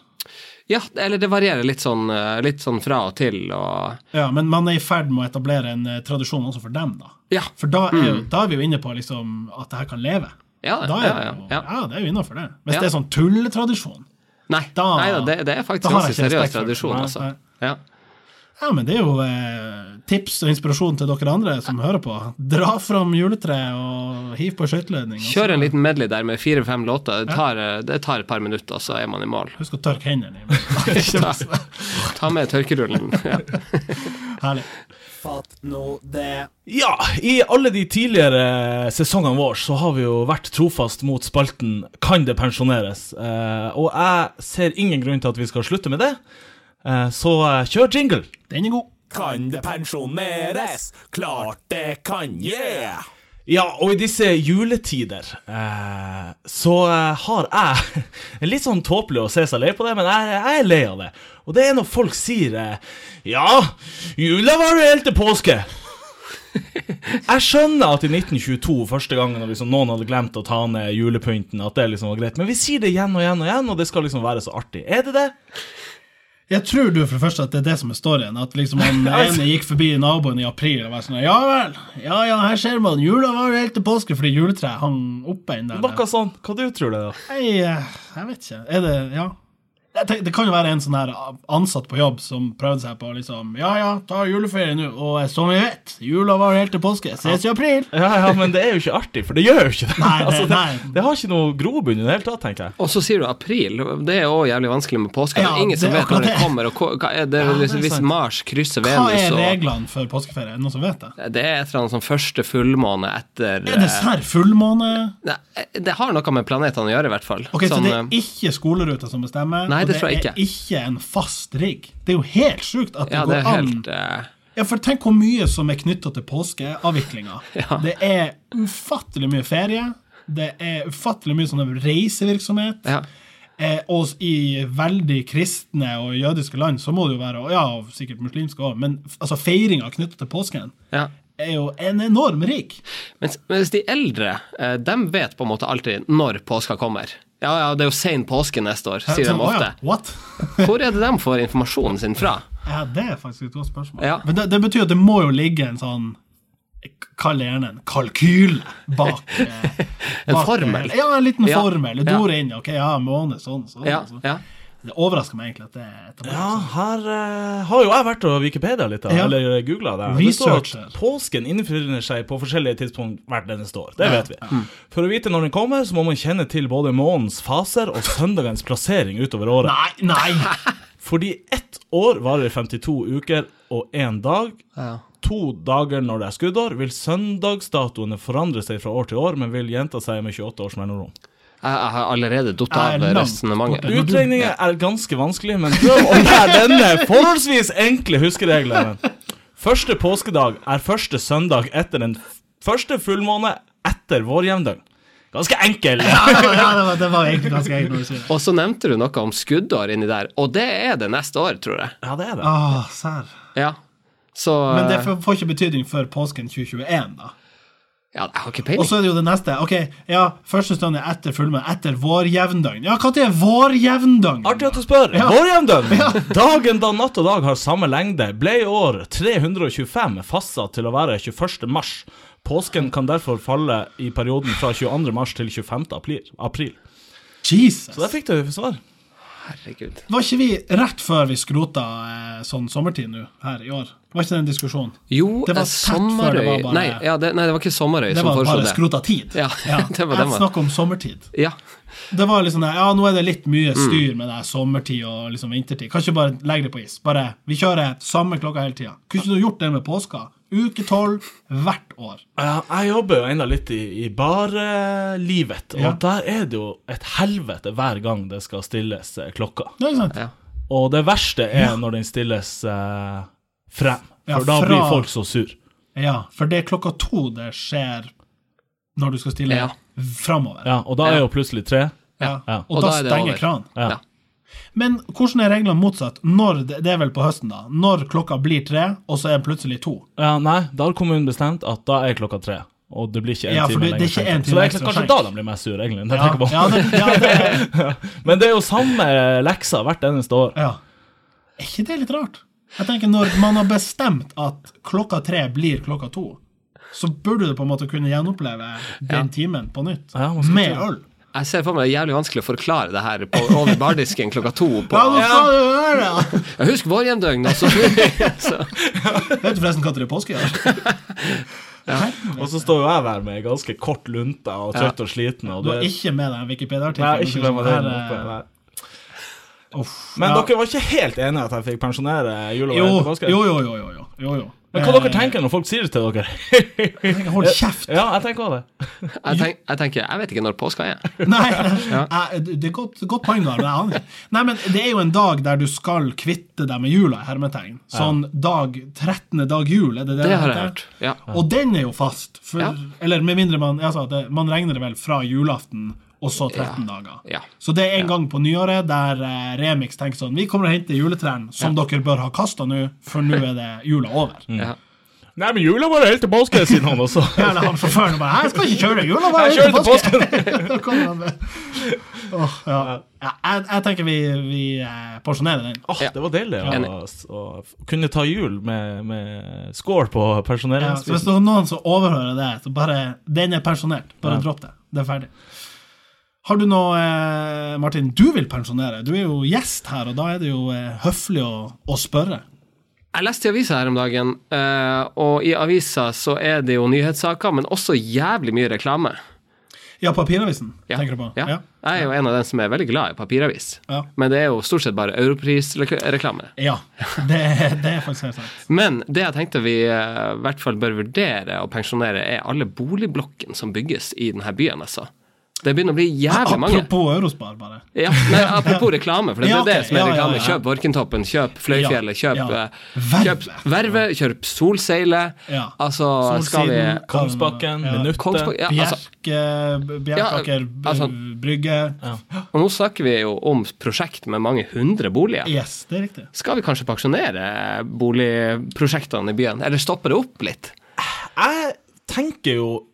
C: ja, eller det varierer litt sånn, eh, litt sånn fra og til, og
B: Ja, men man er i ferd med å etablere en eh, tradisjon også for dem, da.
C: Ja.
B: For da er, jo-
C: Mm.
B: da er vi jo inne på liksom at det her kan leve.
C: Ja,
B: da er
C: ja,
B: det
C: ja,
B: jo,
C: ja.
B: det er jo innafor det. Hvis
C: Ja.
B: det er sånn tulletradisjon
C: Nei,
B: Da-
C: nei da, det, det
B: da
C: er faktisk
B: har jeg
C: ganske
B: ikke respekt
C: seriøs
B: for det.
C: tradisjon,
B: Nei,
C: altså.
B: nei.
C: Ja.
B: Ja, men det er jo eh, tips og inspirasjon til dere andre som hører på. Dra fram juletreet og hiv på skøyteledning. og så-
C: Kjør en liten medley der med fire-fem låter. Det tar, eh, det tar et par minutter, og så er man i mål.
B: Husk å tørke
C: [laughs]
B: hendene. Ikke
C: Ta,
B: minst.
C: ta med tørkerullen.
B: [laughs]
C: [laughs] Ja.
B: Herlig.
D: Fatt nå det.
A: Ja, i alle de tidligere sesongene våre så har vi jo vært trofast mot spalten Kan det pensjoneres? Eh, og jeg ser ingen grunn til at vi skal slutte med det, eh, så eh, kjør jingle!
B: Den er god.
D: Kan det pensjoneres? Klart det kan, yeah!
A: Ja, og i disse juletider eh, så eh, har jeg [laughs] Det er litt sånn tåpelig å se seg lei på det, men jeg, jeg er lei av det. Og det er når folk sier eh, Ja, jula var jo helt til
B: [laughs]
A: påske. Jeg skjønner at i 1922, første gangen når liksom noen hadde glemt å ta ned julepynten, at det liksom var greit, men vi sier det igjen og igjen og igjen, og det skal liksom være så artig. Er det det?
B: Jeg tror du for det første at det er det som er storyen. At liksom
C: [laughs]
B: han
C: altså-
B: ene gikk forbi naboen i april og var sånn Ja vel, ja ja, her ser man. Jula var jo helt til påske fordi juletreet hang oppe inn der.
A: Noe sånn. Hva du tror det, da?
B: Nei, eh, jeg vet ikke. Er det Ja. Jeg tenker, det kan jo være en sånn her ansatt på jobb som prøvde seg på liksom Ja ja, ta juleferie nå. Og eh, som vi vet, jula var jo helt til påske. Ses i april.
A: Ja, ja, men det er jo ikke artig, for det gjør jo ikke det. [laughs] Altså,
B: Nei, det- nei.
A: det, det har ikke noe grobunn i det hele tatt, tenker jeg.
C: Og så sier du april. Det er òg jævlig vanskelig med påske.
B: Ja,
C: det er ingen
B: det
C: som
B: er
C: vet når
B: akkurat
C: det
B: det.
C: kommer. Og hva, hva er det,
A: det er
C: liksom, hvis
A: sant.
C: Mars krysser
B: Hva
C: Venus
B: er
C: og
B: reglene for påskeferie? Er det noen som vet det?
C: Det er et eller annet sånn første fullmåne etter
B: Er det serr fullmåne?
C: eh, Nei, det har noe med planetene å gjøre, i hvert fall.
B: Ok,
C: Sånn,
B: Så det er
C: eh,
B: ikke skoleruta som bestemmer?
C: Nei, det
B: og
C: tror jeg
B: er ikke en fast rigg? Det er jo helt sjukt at det
C: ja,
B: går
C: det er
B: an.
C: helt eh,
B: Ja, for Tenk hvor mye som er knytta til påskeavviklinga.
C: [laughs] Ja.
B: Det er ufattelig mye ferie. Det er ufattelig mye sånn reisevirksomhet.
C: Ja.
B: Eh, og i veldig kristne og jødiske land så må det jo være og Ja, og sikkert muslimske òg, men f- altså, feiringa knytta til påsken
C: ja.
B: er jo en enorm rigg.
C: Mens, mens de eldre, eh, de vet på en måte alltid når påska kommer. Ja, ja, det er jo sein påske neste år, sier de
B: Sånn, å ja,
C: ofte.
B: What? [laughs]
C: Hvor er det de får informasjonen sin fra?
B: Ja, det er faktisk et godt spørsmål.
C: Ja.
B: Men det, det betyr at det må jo ligge en sånn Kall det gjerne en kalkyle
C: [laughs]
B: bak eh,
C: En
B: bak, eh,
C: formel.
B: Ja, en liten
C: Ja.
B: formel. Du
C: Ja.
B: inn, ok, ja, måned, sånn, sånn.
C: Ja,
B: sånn.
C: ja.
B: Det overrasker meg egentlig at det er etablert.
A: Ja, her eh, har jo jeg vært og Wikipedia litt, da,
B: Ja.
A: eller googla det. Det står at
B: Researcher.
A: Påsken innfinner seg på forskjellige tidspunkt hvert neste år. Det vet vi.
B: Mm.
A: For å vite når den kommer, så må man kjenne til både månens faser og søndagens plassering utover året.
B: Nei, [laughs] nei!
A: Fordi ett år varer 52 uker og én dag.
C: Ja.
A: To dager når det er skuddår, vil søndagsdatoene forandre seg fra år til år, men vil gjenta seg med 28 års mellomrom.
C: Jeg, jeg har allerede datt av
B: Jeg er langt
C: resonnementet.
B: borte. Når du-
A: Utregninger er ganske vanskelig, men prøv å lære denne forholdsvis enkle huskeregelen. Første påskedag er første søndag etter den f- første fullmåne etter vårjevndøgn. Ganske enkel.
B: Ja, det, var, det var egentlig ganske enkelt når du sier det.
C: Og så nevnte du noe om skuddår inni der, og det er det neste år, tror jeg.
A: Ja, det er det.
B: Ah, sær.
C: Ja. Så
B: Men det får får ikke betydning før påsken 2021, da.
C: Ja, jeg har ikke
B: Og
C: peiling.
B: så er det jo det neste. Ok, ja, Første stund er etter fullmåne, etter vårjevndøgn. Ja, når er vårjevndøgn?
A: Artig at du spør. Vårjevndøgn. Dagen da natt og dag har samme lengde, ble i år 325 fastsatt til å være 21. mars. Påsken kan derfor falle i perioden fra 22. mars til 25. april- april.
B: Jesus.
A: Så der fikk du svar.
C: Herregud.
B: Var ikke vi rett før vi skrota eh, sånn sommertid nå her i år? Var ikke det en diskusjon?
C: Jo,
B: Det var
C: eh,
B: tett før det var
C: Sommerøy
B: bare-
C: nei, ja, det, nei, det var ikke Sommerøy
B: Det
C: som
B: var
C: foreslo
B: bare
C: det.
B: skrota tid.
C: Ja, [laughs] det var det
B: Jeg
C: man-
B: snakker om sommertid.
C: Ja.
B: Det var liksom det, ja, nå er det litt mye
C: Mm.
B: styr med det her sommertid og liksom vintertid. Kan ikke bare legge det på is. Bare, Vi kjører samme klokka hele tida. Kunne ikke du gjort det med påska? Uke tolv hvert år.
A: Ja, jeg jobber jo ennå litt i, i barlivet, og
B: Ja.
A: der er det jo et helvete hver gang det skal stilles eh, klokka.
B: Det er ikke sant?
C: ja.
A: Og det verste er når den stilles eh, frem,
B: Ja,
A: for da
B: fra-
A: blir folk så sur.
B: Ja, for det er klokka to det skjer når du skal stille
C: Ja.
B: framover.
A: Ja, og da er
C: Ja.
A: jo plutselig tre.
B: Ja.
A: Ja.
B: Og,
C: Og
B: da,
C: da er det
B: stenger
C: over.
B: kranen.
A: Ja.
C: Ja.
B: Men hvordan er reglene motsatt? Når, det det er vel på høsten, da. Når klokka blir tre, og så er den plutselig to.
A: Ja, nei, da har kommunen bestemt at da er klokka tre. Og det blir ikke en
B: Ja, for
A: time
B: det- det er
A: lenger.
B: ikke
A: sent.
B: en
A: så det
B: time
A: er
B: ekstra
A: egentlig kanskje
B: sent.
A: da de blir mest sure, egentlig. når jeg
B: Ja,
A: tenker på.
B: ja, det, ja, det er,
A: Men det er jo samme eh, leksa hvert eneste år.
B: ja. Er ikke det litt rart? Jeg tenker Når man har bestemt at klokka tre blir klokka to, så burde du på en måte kunne gjenoppleve den timen på nytt.
A: Ja, man skal
B: med
A: ikke-
B: øl.
C: Jeg ser for meg det er jævlig vanskelig å forklare det her på, over bardisken klokka to. På,
B: Ja, altså- nå skal du gjøre det!
C: ja, husk
B: [laughs]
C: vårjevndøgn, og så- så
B: Vet du forresten hva det er påske gjør?
C: [laughs]
A: Og så står jo jeg der med ganske kort lunte og trøtt og sliten. Og
B: Du har
A: det,
B: ikke med deg en
A: Nei,
B: Wikipedia-artikkel.
A: ikke glem
B: men
A: at
B: det
A: det
B: er
A: er
B: sånn
A: noe
B: her,
A: på- nei.
B: eh, uff,
A: Men
B: ja.
A: dere var ikke helt enige at jeg fikk pensjonere jula
B: Jo,
A: etter påske?
B: jo, jo, jo, jo, jo, jo, jo.
A: Men hva dere tenker Eh, når folk sier det til dere? [laughs]
B: tenker Hold kjeft!
A: ja, jeg tenker også det.
C: jeg, tenk, jeg tenker, jeg vet ikke når påska er.
B: [laughs] Nei, eh, det er godt, godt poeng, da. Men jeg aner ikke. Nei, men det er jo en dag der du skal kvitte deg med jula, i hermetegn. Sånn dag 13. dag jul, er det det
C: Det
B: det
C: har jeg
B: heter?
C: hørt. Ja.
B: Og den er jo fast. For,
C: Ja.
B: Eller med mindre man altså, det, Man regner det vel fra julaften og så 13 dager.
C: Ja.
B: Så det er en gang på nyåret der eh, Remix tenker sånn Vi kommer og henter juletrærne som dere bør ha kasta nå, for nå er det jula
C: [laughs]
B: over.
C: Ja.
A: Nei, men jula var helt til påske, sier han [laughs] også.
B: Eller han sjåføren og bare 'Jeg skal ikke kjøre jula, bare
A: Jeg kjører til
B: Da kommer han med. Åh, ja. Ja, jeg, jeg tenker vi, vi eh, porsjonerer den.
A: Åh, Ah, Det var deilig å,
C: Enig.
A: å f- kunne ta jul med, med score på
B: Ja, så hvis
A: pensjoneringsprisen.
B: det er noen som overhører det, så bare Den er pensjonert. Bare
A: Ja.
B: dropp det. Det er ferdig. Har du noe, eh, Martin, du vil pensjonere? Du er jo gjest her, og da er det jo eh, høflig å, å spørre.
C: Jeg leste i avisa her om dagen, eh, og i avisa så er det jo nyhetssaker, men også jævlig mye reklame.
B: Ja, papiravisen
C: Ja.
B: tenker du på?
C: Ja.
B: Ja.
C: Jeg er jo en av dem som er veldig glad i papiravis.
B: Ja.
C: Men det er jo stort sett bare europrisreklame.
B: ja. Det, det er faktisk helt sant.
C: Men det jeg tenkte vi eh, i hvert fall bør vurdere å pensjonere, er alle boligblokkene som bygges i denne byen, altså. Det begynner å bli jævlig mange.
B: Apropos Eurospar, bare.
C: Ja, nei, apropos reklame, for det er
B: Ja,
C: jo det
B: ok.
C: som er
B: Ja, ja,
C: reklame.
B: ja.
C: Kjøp Borkentoppen, kjøp Fløyfjellet,
B: Ja,
C: kjøp,
B: ja.
C: eh,
B: Verve.
C: kjøp Verve, kjøp Solseilet.
B: Ja.
C: Altså, skal vi
B: Solsiden,
A: Kongsbakken,
B: Ja.
A: Minuttet
C: Kongsbakk- ja, altså,
B: Bjerke, Bjerkaker
C: Ja, altså-
B: Brygge.
C: Og nå snakker vi jo om prosjekt med mange hundre boliger.
B: Yes, det er riktig.
C: Skal vi kanskje pensjonere boligprosjektene i byen, eller stoppe det opp litt?
A: Jeg tenker jo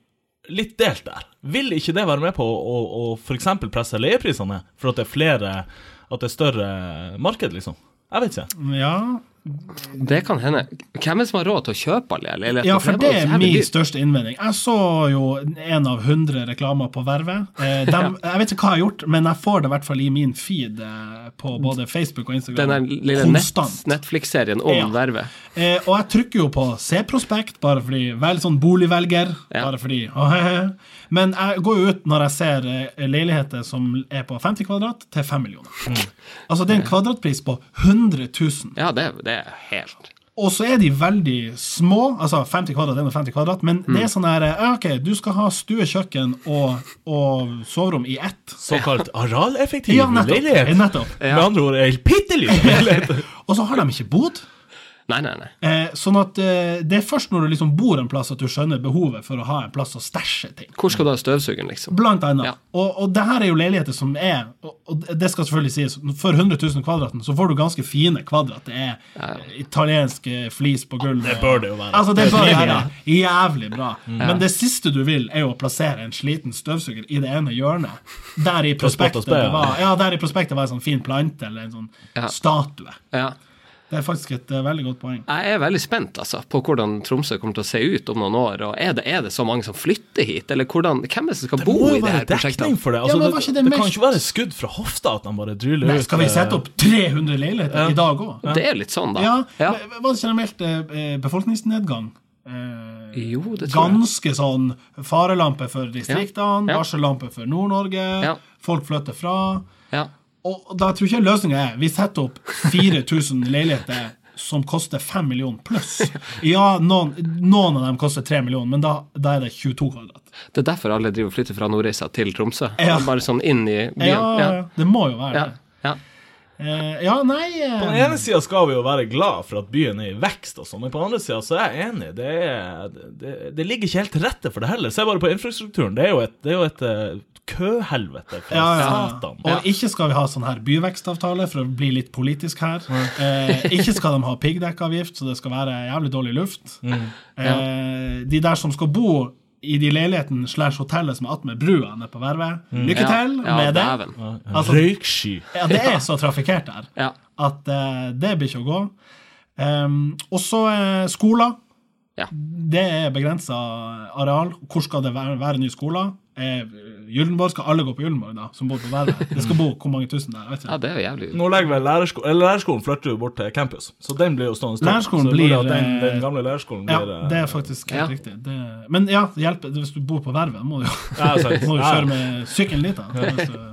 A: litt delt der. Vil ikke det være med på å, å, å f.eks. presse leieprisene, for at det er flere At det er større marked, liksom? Jeg vet ikke.
B: Ja,
C: Det kan hende. Hvem er det som har råd til å kjøpe alle leiligheter?
B: Ja, for det
C: var jo så
B: er
C: jævlig
B: min
C: dyrt.
B: største innvending. Jeg så jo en av 100 reklamer på Vervet. Eh,
C: [laughs]
B: dem- jeg vet ikke hva jeg har gjort, men jeg får det i hvert fall i min feed eh, på både Facebook og
C: Den
B: Instagram.
C: der lille nett,
B: Konstant.
C: Netflix-serien om
B: Ja.
C: vervet.
B: Eh, og jeg trykker jo på se prospekt, bare fordi Vel sånn boligvelger.
C: Ja.
B: Bare fordi [laughs] å, he, he. Men jeg går jo ut når jeg ser eh, leiligheter som er på 50 kvadrat, til 5 millioner.
C: Mm.
B: Altså det er en kvadratpris på 100 000.
C: Ja, det, det er helt
B: Og så er de veldig små. Altså 50 kvadrat er nå 50 kvadrat, men det er sånn her eh, ja, Ok, du skal ha stue, kjøkken og, og soverom i ett.
A: Såkalt arealeffektiv
B: Ja, nettopp. Eh,
A: leilighet.
B: nettopp.
A: Med andre ord ei bitte
B: [laughs]
A: liten leilighet.
B: Og så har de ikke bod.
C: Nei, nei, nei.
B: Eh, sånn at eh, det er først når du liksom bor en plass at du skjønner behovet for å ha en plass å stæsje ting.
C: Hvor skal du ha støvsugeren, liksom?
B: Blant annet.
C: Ja.
B: Og, og det her er jo leiligheter som er og, og det skal selvfølgelig sies, For 100 000 kvadraten så får du ganske fine kvadrat. Det er eh, italiensk eh, flis på gulvet.
A: Det bør det Mm. jo være.
B: Altså, det bør
A: Ja.
B: være jævlig bra. Men det siste du vil, er jo å plassere en sliten støvsuger i det ene hjørnet.
A: [laughs]
B: Der i
A: spott og
B: prospektet
A: spe, ja.
B: det var, ja, der i prospektet var en sånn fin plante eller en sånn
C: Ja.
B: statue.
C: Ja.
B: Det er faktisk et eh, veldig godt poeng.
C: Jeg er veldig spent altså, på hvordan Tromsø kommer til å se ut om noen år. og Er det, er det så mange som flytter hit, eller hvordan, hvem er det som skal
A: Det
C: bo
A: må
C: i
A: jo
C: det
A: være
C: her
A: dekning
C: prosjektet?
A: for det. Altså,
B: Ja, men var
A: det,
B: ikke
A: det,
B: det
A: kan
B: mest-
A: ikke være skudd fra hofta at de bare dryler
B: Nei,
A: ut.
B: skal vi
A: eh,
B: sette opp 300 leiligheter i dag òg?
C: Det er litt sånn, da.
B: Ja,
C: Ja.
B: men Var det generelt eh, befolkningsnedgang? Eh,
C: Jo, det tror jeg.
B: ganske sånn farelampe for distriktene,
C: Ja, ja.
B: varsellampe for Nord-Norge.
C: Ja.
B: Folk flytter fra.
C: Ja.
B: Og da tror jeg ikke løsninga er vi setter opp 4000 leiligheter som koster 5 millioner pluss. Ja, noen, noen av dem koster 3 millioner, men da, da er det 22 kvadrat.
C: Det er derfor alle driver og flytter fra Nordreisa til Tromsø.
B: Ja.
C: Bare sånn inn i byen.
B: Ja, det må jo være
C: ja.
B: det.
C: ja.
B: Eh, ja, nei eh,
A: På den ene sida skal vi jo være glad for at byen er i vekst, og sånn, men på den andre sida så er jeg enig. Det, er, det, det ligger ikke helt til rette for det heller. Se bare på infrastrukturen. Det er jo et, det er jo et eh, køhelvete fra
B: Ja, ja.
A: satan.
B: Og ikke skal vi ha sånn her byvekstavtale, for å bli litt politisk her. Eh, ikke skal de ha piggdekkavgift, så det skal være jævlig dårlig luft. Eh, de der som skal bo i de leilighetene slash hotellet som er attmed brua nede på Vervet, lykke
C: Ja.
B: til
C: Ja,
B: med det.
C: dæven.
B: Altså-
A: Røyksky.
B: Ja, det er så trafikkert der
C: Ja.
B: at eh, det blir ikke å gå. Um, og så eh, skoler.
C: Ja.
B: Det er begrensa areal. Hvor skal det være, være nye skoler? Eh, Gyldenborg skal alle gå på Gyldenborg, da, som bor på Værøy. Det skal bo hvor mange tusen der? vet
C: ja,
B: du.
C: det er jo jævlig
A: Nå legger vel lærersko eller lærerskolen flytter jo bort til campus, så den blir jo stående tom.
B: Lærerskolen
A: så det er mulig at
B: blir,
A: den,
B: eh,
A: den gamle lærerskolen
B: Ja,
A: blir eh,
B: det er faktisk helt
C: Ja.
B: riktig. Det, men ja, det hjelper. Hvis du bor på Værøy, må du jo
A: Ja, sant.
B: [laughs] må du
A: Ja.
B: kjøre med sykkelen dit. da. Altså,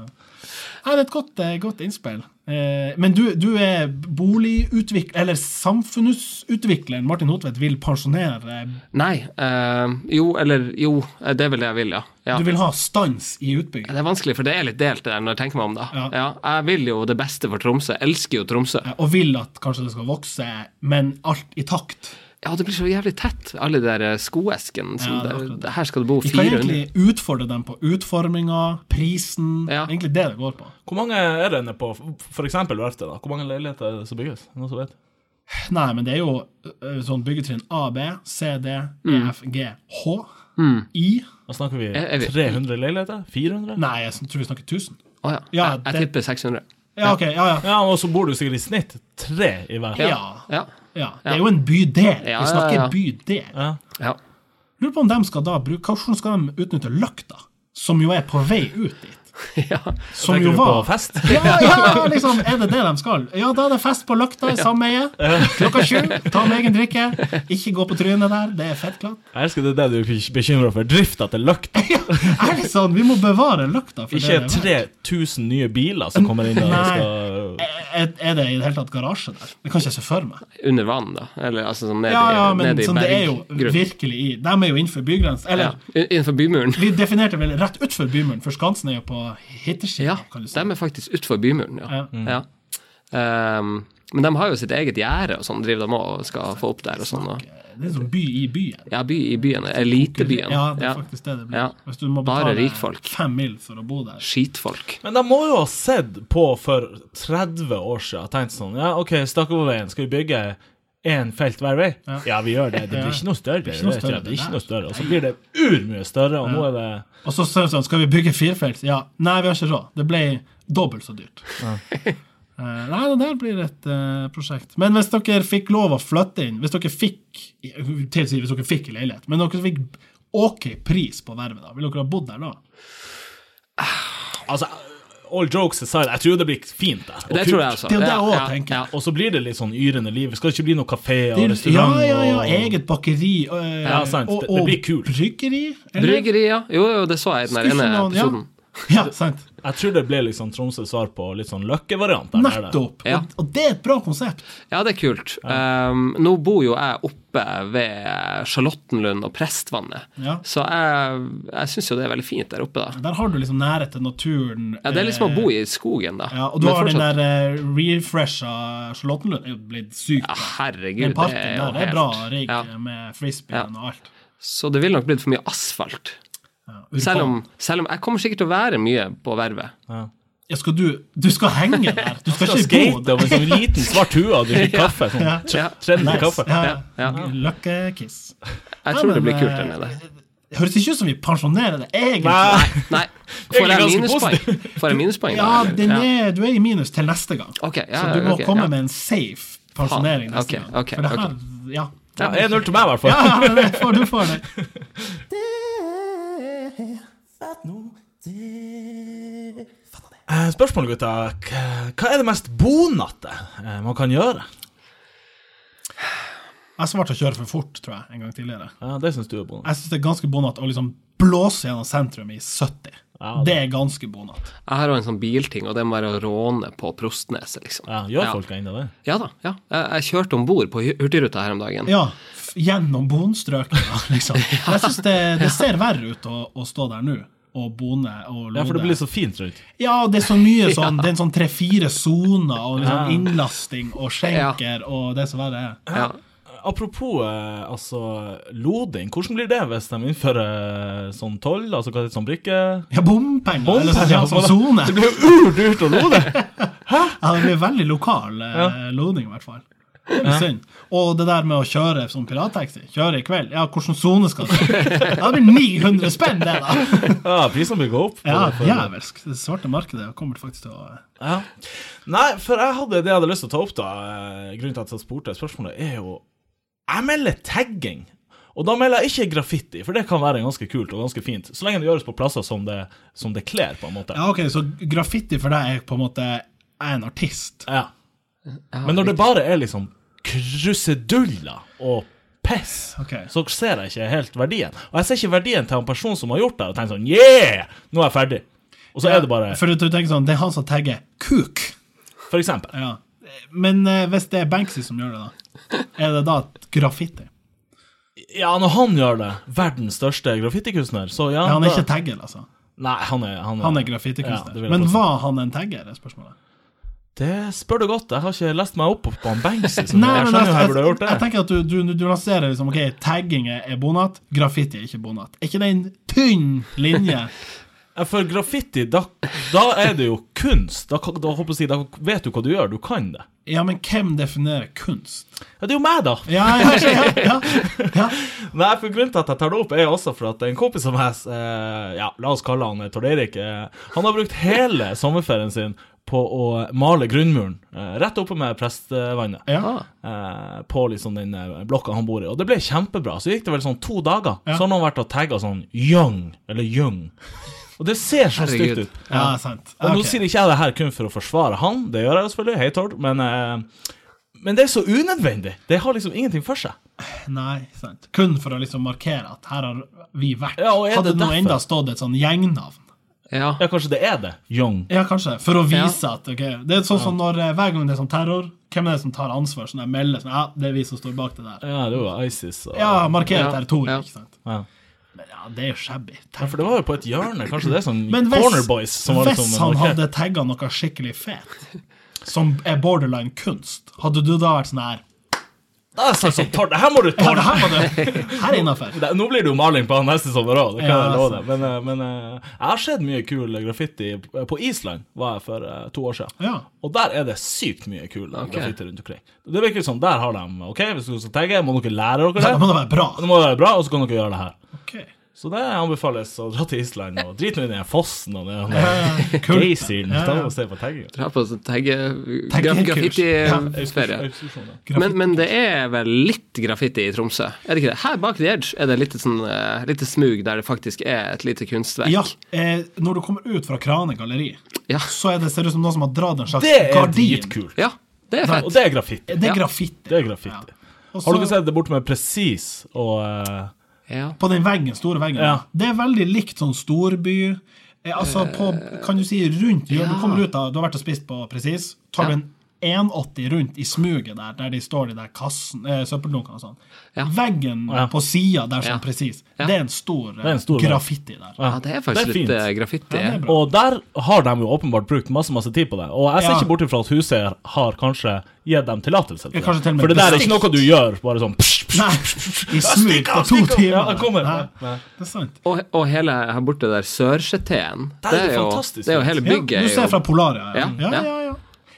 B: Her er et godt, eh, godt innspill. Eh, Men du, du er boligutvikler, eller samfunnsutvikleren Martin Hotvedt vil pensjonere eh,
C: Nei. eh, jo, eller Jo, eh, det er vel det jeg vil, ja. ja.
B: Du vil ha stans i utbygging.
C: Det er vanskelig, for det er litt delt det der når jeg tenker meg om, da.
B: Ja.
C: Ja, jeg vil jo det beste for Tromsø. Jeg elsker jo Tromsø.
B: Ja, Og vil at kanskje det skal vokse, men alt i takt.
C: Ja, det blir så jævlig tett, alle de der eh, skoeskene. Som
B: Ja, det er
C: det-
B: akkurat det.
C: her skal det bo
B: Vi kan
C: 400
B: egentlig utfordre dem på utforminga, prisen.
C: Ja.
B: Egentlig det det går på.
A: Hvor mange er det nede på f.eks. verftet? da? Hvor mange leiligheter er det som bygges? Noen som vet?
B: Nei, men det er jo ø, sånn byggetrinn A, B, C, D, E,
C: Mm.
B: F, G, H, I
A: Da snakker vi
C: Er- er vi-
A: 300 leiligheter? 400?
B: Nei, jeg tror vi snakker 1000.
C: Å ja.
B: Ja,
C: jeg, jeg
B: det-
C: tipper 600.
B: Ja, ok, ja, ja.
A: Ja, og så bor du sikkert i snitt tre i hver.
B: Ja.
C: Ja.
B: ja. Det er jo en bydel.
C: Ja,
B: Vi
C: ja, ja.
B: snakker bydel.
A: Ja.
C: ja. [laughs]
B: Lurer på om de skal da bruke Hvordan skal de utnytte løkta, som jo er på vei ut dit?
C: ja.
B: Som
A: Tenker
B: jo
A: du
B: var
A: på fest?
B: Ja, ja, liksom, er det det de skal? Ja, da er det fest på Løkta i sameie. Klokka sju. Ta med egen drikke. Ikke gå på trynet der. Det er fettklatt.
A: Jeg elsker det er det du er bekymra for. Drifta til løkta.
B: Ja, er det sånn? Vi må bevare Løkta. For
A: Ikke
B: det det er.
A: 3000 nye biler som kommer inn og
B: Nei.
A: skal
B: Er, er det i det hele tatt garasje der? Det kan ikke jeg se for meg.
C: Under vann, da. Eller altså sånn ned
B: Ja, ja,
C: i,
B: men
C: ned i
B: sånn, det er jo
C: berggrunn.
B: virkelig i De er jo innenfor bygrensen.
C: Ja.
B: Eller,
C: In- Innenfor bymuren.
B: vi definerte vel rett utfor bymuren, for Skansen er jo på
C: Ja,
B: hittersida, kan du si.
C: de er faktisk utenfor bymuren, ja.
B: Ja.
C: ja. Ehm, men de har jo sitt eget gjerde og sånn, driver de også og skal få opp der og sånn. Og,
B: Det er sånn by i byen.
C: ja, by i byen. Elitebyen.
B: Ja, det er faktisk det det
C: Ja.
B: blir. Hvis du må
C: Bare
B: betale
C: rikfolk.
B: fem mil for å bo der.
C: Skitfolk.
A: Men de må jo ha sett på for 30 år siden og tenkt sånn Ja, OK, Stakkoverveien, skal vi bygge én felt hver vei? Ja. vi gjør det. Det blir ikke noe større. Det
B: ikke noe
A: vet jeg,
B: større,
A: det blir ikke
B: det
A: noe større. Og så blir det urmye større, og nå er det
B: Og så sier de sånn, skal vi bygge firefelts? Ja. Nei, vi har ikke råd. Det ble dobbelt så dyrt. [laughs] Eh, nei, det der blir et eh, prosjekt. Men hvis dere fikk lov å flytte inn Hvis dere fikk jeg vil til å si hvis dere fikk en leilighet, men dere fikk OK pris på vervet, da, ville dere ha bodd der da?
A: Altså, all jokes aside, jeg tror det blir fint der. og
C: Det
A: kult.
C: tror jeg altså.
B: Det er jo det jeg
C: Ja,
B: også
C: ja,
B: tenker.
C: ja.
A: Og så blir det litt sånn yrende liv. Det skal ikke bli noen kafeer og
B: Ja,
A: restaurant.
B: ja, ja.
A: og-
B: Eget bakeri. eh,
A: Ja, sant.
B: Og,
A: Det- det
B: og
A: blir kult.
B: bryggeri. eller?
C: Bryggeri, ja. Jo, jo, det så jeg i den der ene
B: Skuffenoen, ja.
C: episoden.
B: Ja, sant.
A: Jeg tror det ble liksom Tromsøs svar på litt sånn Løkke-variant. der, der, der.
B: Nettopp.
C: Ja.
B: Og, og det er et bra konsept.
C: Ja, det er kult. Ehm, nå bor jo jeg oppe ved Charlottenlund og Prestvannet,
B: Ja.
C: så jeg, jeg syns jo det er veldig fint der oppe, da.
B: Der har du liksom nærhet til naturen.
C: Ja, Det er liksom å
B: eh,
C: bo i skogen, da.
B: Ja, og du
C: Men
B: har den
C: fortsatt-
B: der eh, refresha Charlottenlund. Det er jo blitt sykt.
C: ja,
B: bra.
C: Herregud,
B: Den
C: Ah,
B: parken
C: det er jo
B: der det
C: helt
B: er bra rigg
C: ja.
B: med frisbeen og alt.
C: Så det ville nok blitt for mye asfalt.
B: Ja,
C: Selv
B: urban.
C: om, selv om jeg kommer sikkert til å være mye på vervet.
B: ja, skal du, du skal henge der! Du skal
A: Så
B: ikke
A: skate
B: bo der.
A: over en sånn liten svart hue og drikke kaffe. Sånn tre-
C: [laughs] Ja.
A: trendy
B: Nice.
A: kaffe.
B: Ja, ja.
C: Ja,
B: Løkkekiss.
C: Jeg tror
B: Ja, men,
C: det blir kult
B: eh,
C: der nede.
B: Det høres ikke ut som vi pensjonerer det, egentlig.
A: Nei,
C: Nei,
A: Egentlig
C: får jeg
A: ganske
C: minuspoeng? Får jeg minuspoeng da?
B: Ja,
C: eller?
B: den er, du er i minus til neste gang.
C: Ok, ja,
B: så du må
C: ok, ja.
B: komme med en safe pensjonering
C: Faen,
B: neste
C: ok,
B: gang.
C: ok,
B: For det
C: ok.
B: her, ja. [laughs]
A: Ja, 1-0 til meg, i hvert fall.
B: Ja, det får du får det.
A: Eh, Spørsmål, gutta. K- Hva er det mest bonatte eh, man kan gjøre?
B: Jeg svarte å kjøre for fort, tror jeg, en gang tidligere.
A: Ja, det syns du er bonatt.
B: Jeg syns det er ganske bonat å liksom blåse gjennom sentrum i 70.
A: Ja, det-
B: det er ganske bonat.
C: Jeg har jo en sånn bilting, og det må være å råne på Prostneset, liksom.
A: Ja, gjør
C: Ja.
A: folk ennå det?
C: Ja da. ja. Jeg, jeg kjørte om bord på hu- Hurtigruta her om dagen.
B: Ja, f- gjennom bonstrøkene, [laughs]
A: [laughs]
B: liksom. Jeg syns det, det ser verre ut å, å stå der nå og bone og lode.
A: Ja, for det blir så fint rundt.
B: Ja, det er
A: [laughs]
B: så mye sånn Det er en sånn tre-fire soner og liksom innlasting og skjenker og det som verre er.
C: Ja.
A: Apropos eh, altså, loding, hvordan blir det hvis de innfører eh, sånn toll, altså hva heter det, sånn brikke?
B: Ja, bompenger! eller sånn, ja, sånn
A: [laughs]
B: sone.
A: Det blir jo urdyrt å
B: [laughs]
A: lode!
B: Ja, det blir veldig lokal eh, loading, i hvert fall. Det blir synd. Og det der med å kjøre som pirattaxi, kjøre i kveld, ja, hvilken sone skal du Ja, Det blir 900 spenn, det, da!
A: [laughs] Ja, prisene vil gå opp. på
B: Ja,
A: det, for-
B: Djevelsk. Det svarte markedet kommer faktisk til å
A: Ja. Nei, for jeg hadde det jeg hadde lyst til å ta opp, da. eh, Grunnen til at jeg spurte spørsmålet, er jo Jeg melder tagging. Og da melder jeg ikke graffiti, for det kan være ganske kult og ganske fint. Så lenge det gjøres på plasser som det, som det kler, på en måte.
B: Ja, OK, så graffiti for deg er på en måte jeg er en artist.
A: Ja. Men når det bare er liksom kruseduller og piss,
B: Ok.
A: så ser jeg ikke helt verdien. Og jeg ser ikke verdien til en person som har gjort det, og tenker sånn Yeah! Nå er jeg ferdig. Og så er det bare
B: For du tenker sånn, det er han som tagger 'kuk'.
A: For eksempel.
B: Ja. Men eh, hvis det er Banksy som gjør det, da, er det da graffiti?
A: Ja, når han gjør det, verdens største graffitikunstner, så ja,
B: Ja, han er
A: da-
B: ikke tagger, altså.
A: Nei, han er Han er,
B: Han er
A: Ja, det
B: graffitikunstner.
A: vil jeg
B: Men
A: påstå.
B: var han en tagger, er spørsmålet.
A: Det spør du godt. Jeg har ikke lest meg opp på han Banksy. så
B: Nei,
A: jeg
B: men
A: skjønner
B: jeg,
A: jo jeg burde ha
B: jeg,
A: gjort det.
B: tenker at du, du, du lanserer liksom Ok, tagging er er bonat, graffiti er ikke bonat. Er ikke det en tynn linje?
A: [laughs] Ja, For graffiti, da, da er det jo kunst. Da, kan- da, håper jeg, å si, da vet du hva du gjør. Du kan det.
B: Ja, men hvem definerer kunst?
A: Ja, det er jo meg, da.
B: Ja, ja, ja, ja, ja.
A: Nei, for Grunnen til at jeg tar det opp, er også for at en kompis av meg, eh, ja, la oss kalle han eh, Tord Eirik, eh, han har brukt hele sommerferien sin på å male grunnmuren eh, rett oppe med Prestvannet.
B: ja.
A: eh, på liksom den eh, blokka han bor i. Og det ble kjempebra. Så gikk det vel sånn to dager. Så har han vært og tagga sånn Young, eller Young. Og det ser så stygt
C: Herregud.
A: ut.
B: ja sant.
A: Og
B: Ok.
A: nå sier ikke jeg det her kun for å forsvare han, det gjør jeg jo selvfølgelig, hei Tord, men, eh, men det er så unødvendig. Det har liksom ingenting for seg.
B: Nei, sant. Kun for å liksom markere at her har vi vært.
A: Ja, og er
B: Hadde
A: det
B: nå
A: derfor?
B: enda stått et sånn gjengnavn.
C: Ja.
A: Ja, kanskje det er det. Young.
B: Ja, kanskje. For å vise at ok, Det er sånn som når eh, hver gang det er sånn terror, hvem er det som tar ansvar? Sånn der melder sånn Ja, det er vi som står bak det der.
A: Ja, det var ISIS. Og...
B: Ja, markerer
C: Ja,
B: territoriet,
C: ja.
B: ikke sant.
A: Ja.
B: Men ja, det er jo shabby.
A: Ja, for det var jo på et hjørne. Kanskje det er sånn
B: Men hvis,
A: Corner Boys som var liksom
B: hvis han
A: markert.
B: hadde tagga noe skikkelig fet, som er borderline kunst, hadde du da vært sånn her
A: Da er det sånn, sånn Tord, det her må du
B: Ja, det
A: tåle!
B: her var det! Her innafor.
A: Det- Nå blir det jo maling på han neste sommer òg, det kan
B: Ja, altså.
A: jeg love deg. Men, eh, men eh, jeg har sett mye kul graffiti på Island, var jeg for eh, to år siden.
B: Ja.
A: Og der er det sykt mye kul
C: Ok.
A: graffiti rundt omkring. Det virker som der har de OK, hvis dere skal tagge, må dere lære
B: Ja,
A: dere
B: det
A: det.
B: må da være bra.
A: Det må være bra, og så kan dere gjøre det her.
B: Ok.
A: Så det anbefales å dra til Island og drite nå i den her fossen og den her
B: Kult.
A: geyseren.
B: Ja,
A: Ta
B: ja.
A: og se på tagginga.
C: Dra på sånn tagge...
B: Taggekurs.
C: graf-
B: Ja,
C: Graffiti-ferie.
A: Ekskursjon,
C: Men, men det er vel litt graffiti i Tromsø? Er det ikke det? Her bak The Edge er det litt sånn, eh, lite smug der det faktisk er et lite kunstverk.
B: Ja, eh, når du kommer ut fra Krane galleri,
C: Ja.
B: så er det ser det ut som noen som har dratt en slags
A: Det er
B: gardin.
A: dritkult.
C: Ja, det er
A: Og
C: fett.
A: det er graffiti.
B: Det
C: Ja.
B: er graffiti.
A: Det er graffiti.
B: Og så-
A: Har dere sett det borte med Presis og eh,
C: Ja.
B: På den veggen, store veggen.
A: Ja.
B: Det er veldig likt sånn storby. Eh, altså på, kan du si rundt ja. Du
C: ja.
B: kommer ut av, du har vært og spist på Presis, tar du
C: Ja.
B: en 180 rundt i smuget der, der de står de der kassen, eh, søppeldunkene og sånn.
C: Ja.
B: Veggen
A: Ja.
B: på sida der som
C: Ja.
B: Presis,
C: Ja.
B: det er en stor, eh,
A: er en stor vegg.
B: graffiti der.
C: ja, det er faktisk
A: Det er
C: litt
A: fint.
C: eh, graffiti.
B: Ja, det er bra.
A: Og der har de jo åpenbart brukt masse masse tid på det. Og jeg ser
B: Ja.
A: ikke bort ifra at huset har kanskje gitt dem tillatelse. til
B: Ja, kanskje til og
A: det.
B: med
A: For det der er ikke
B: bestilt.
A: noe du gjør bare sånn psh, psh.
B: Nei, i smug på
A: av,
B: to
A: stikk av. Ja,
B: timer.
A: jeg kommer.
B: Nei, det er sant.
C: Og, og hele her borte der Sørseteen,
A: Der er
C: det er
A: det
C: jo,
A: fantastisk
C: det er jo
A: fint.
C: hele
B: Ja,
C: bygget.
B: du
C: er
B: ser
C: jo-
B: fra Polaria, ja.
C: Ja,
B: Ja,
C: ja.
B: ja, ja,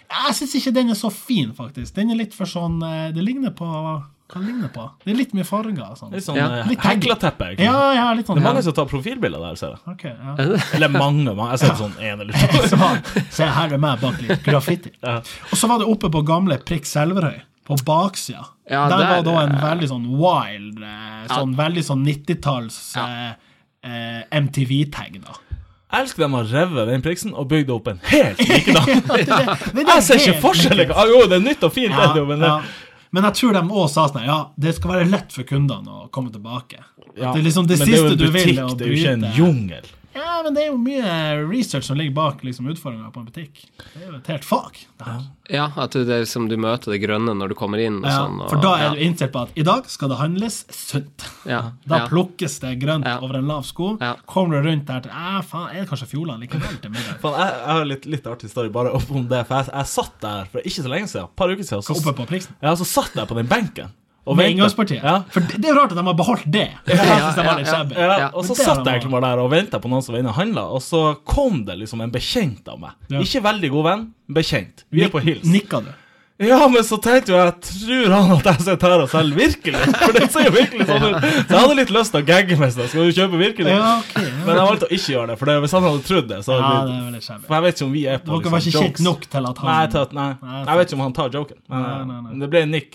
B: Jeg syns ikke den er så fin, faktisk. Den er litt for sånn eh, Det ligner på Hva det ligner på? Det er litt mye farger. og Sånn.
A: Litt sånn
C: Ja.
A: eh,
B: Litt tagg.
A: heklateppe. egentlig.
B: Ja, ja, litt sånn.
A: Det er mange
B: ja.
A: som tar profilbilder der, ser jeg.
B: Ok, ja.
A: Eller mange. mange. Jeg ser sånn én eller to.
B: [laughs] Så, se, her er meg bak litt graffiti. Og så var det oppe på gamle Prikk Selverøy, på baksida.
C: Ja,
B: der,
C: der,
B: var da en
C: eh,
B: veldig sånn wild, eh, sånn veldig sånn 90-talls eh, eh, MTV-tag, da.
A: Jeg elsker dem å reve den priksen og bygge opp en
B: [laughs]
A: helt likedan.
B: Det- det- det
A: [laughs]
B: er
A: Jeg ser ikke
B: helt
A: forskjell.
B: riktig.
A: ikke? Ah, jo, det er nytt og fint, det er det jo, men det,
B: ja. Men jeg tror de òg sa sånn her, Ja, det skal være lett for kundene å komme tilbake.
A: ja.
B: Det er liksom det
A: men det er jo
B: siste
A: en
B: du vil,
A: butikk,
B: er å
A: det er jo ikke en
B: bryte.
A: jungel.
B: Ja, men det er jo mye research som ligger bak liksom, utfordringa på en butikk. Det er jo et helt fag. Det her.
C: Ja, at du- det er som du møter det grønne når du kommer inn. Og
B: Ja,
C: sånn, og,
B: for da er
C: ja,
B: du innstilt på at i dag skal det handles sunt.
C: ja,
B: Da
C: ja.
B: plukkes det grønt
C: Ja.
B: over en lav sko.
C: Ja.
B: Kommer du rundt der til Æ, faen, er det kanskje Fjordland likevel til middag?
A: Faen, jeg, jeg har litt, litt artig story bare opp om det. For jeg, jeg satt der for ikke så lenge siden, et par uker siden,
B: Oppe
A: så,
B: på priksen.
A: ja, så satt jeg på den benken. og
B: Med
A: ventet.
B: inngangspartiet.
A: Ja.
B: For det, det er jo rart at de har beholdt det. Jeg synes det var litt
C: ja, ja.
B: shabby.
A: Ja,
C: Ja,
A: og
B: men
A: så
B: det
A: satt
B: er
A: jeg
B: det
A: egentlig bare der og venta på noen som var inne og handla, og så kom det liksom en bekjent av meg.
B: Ja.
A: Ikke veldig god venn, bekjent. Vi er på hils.
B: Nikka du?
A: Ja, men så tenkte jo jeg Tror han at jeg sitter her og selger virkelig? [laughs] For det ser jo virkelig sånn ut. Så jeg hadde litt lyst til å gagge meg. sånn, Skal du kjøpe virkelig?
B: Ja, ok. Ja.
A: Men jeg valgte å ikke gjøre det, for det, hvis han hadde trodd det, så
B: Ja,
A: hadde
B: det
A: det
B: er veldig shabby.
A: For jeg vet ikke om vi er på liksom
B: Dere var ikke kjent nok til at han
A: Nei, tatt, nei.
B: Nei,
A: jeg vet ikke om han tar joken. Nei,
B: Nei, nei, nei.
A: Men det ble en nikk.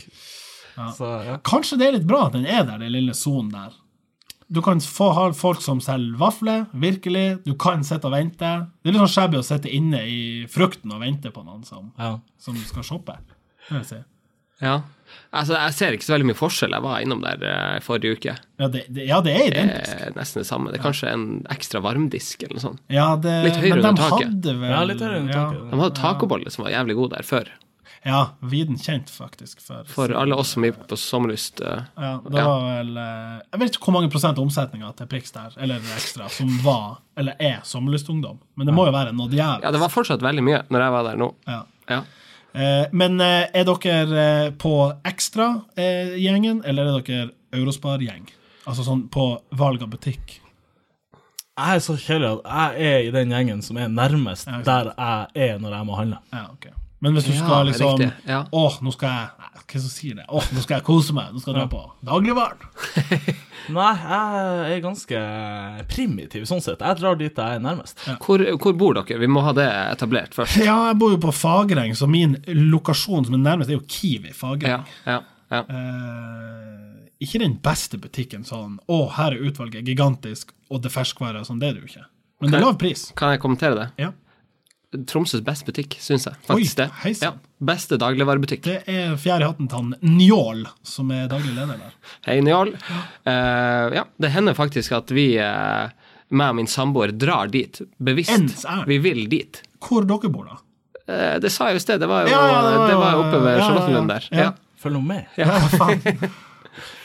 B: Ja.
A: Så, ja.
B: Kanskje det er litt bra at den er der, den lille sonen der. Du kan få ha folk som selger vafler, virkelig. Du kan sitte og vente. Det er litt sånn shabby å sitte inne i frukten og vente på noen som,
A: Ja.
B: som skal shoppe. Det vil jeg si.
C: ja. Altså, jeg ser ikke så veldig mye forskjell. Jeg var innom der eh, forrige uke.
B: Ja, det, det, ja, det er identisk.
C: Eh, nesten det samme. Det er kanskje en ekstra varmdisk eller noe sånt.
B: Ja, det,
C: Litt
B: men
C: høyere
B: de
C: under taket.
B: Hadde vel,
A: ja, litt høyere enn taket.
C: De hadde tacoboller som var jævlig gode der før.
B: Ja, ja, viden kjent, faktisk. For,
C: For alle oss som gikk på sommerlyst. eh,
B: ja, det
C: Ja.
B: var vel eh, Jeg vet ikke hvor mange prosent av omsetninga til Prix der, eller ekstra, som var, eller er, sommerlystungdom. Men det må jo være noe jævlig.
C: Ja, det var fortsatt veldig mye når jeg var der nå.
B: Ja.
C: Ja.
B: Eh, Men eh, er dere eh, på ekstra-gjengen, eller er dere Eurospar-gjeng? Altså sånn på valg av butikk.
A: Jeg er så kjedelig at jeg er i den gjengen som er nærmest
B: Ja, ikke
A: der jeg er når jeg må handle.
B: Ja, ok. Men hvis du
C: Ja,
B: skal liksom
C: riktig, ja.
B: Åh, nå skal jeg Nei, Hva er det som sier det? Åh, nå skal jeg kose meg. Nå skal jeg dra på dagligvaren.
C: [laughs]
A: Nei, jeg er ganske primitiv sånn sett. Jeg drar dit jeg er nærmest.
C: Hvor, hvor bor dere? Vi må ha det etablert først.
B: Ja, jeg bor jo på Fagereng, så min lokasjon som er nærmest, er jo Kiwi
C: Ja,
B: Fagereng.
C: ja, ja.
B: Eh, ikke den beste butikken sånn Å, her er utvalget gigantisk, og det er ferskvarer. Sånn, det er det jo ikke. Men det er lav pris.
C: Kan jeg kommentere det?
B: Ja.
C: Tromsøs beste butikk, syns jeg.
B: Oi,
C: Faktisk det.
B: hei sann.
C: Ja, beste dagligvarebutikk.
B: Det er fjerde i hatten til han Njål, som er daglig leder der.
C: Hei, Njål. Eh, ja, det hender faktisk at vi, eh, meg og min samboer, drar dit. Bevisst.
B: Ens ærend.
C: Vi vil dit.
B: Hvor dere bor, da?
C: Eh, det sa jeg jo i sted. Det var jo
B: Ja, ja, det var
C: det var
B: jo-
C: oppe ved
B: ja, ja,
C: Charlottenlund der.
B: ja.
C: Ja.
A: Følg nå med.
B: Ja,
C: [laughs]
B: faen.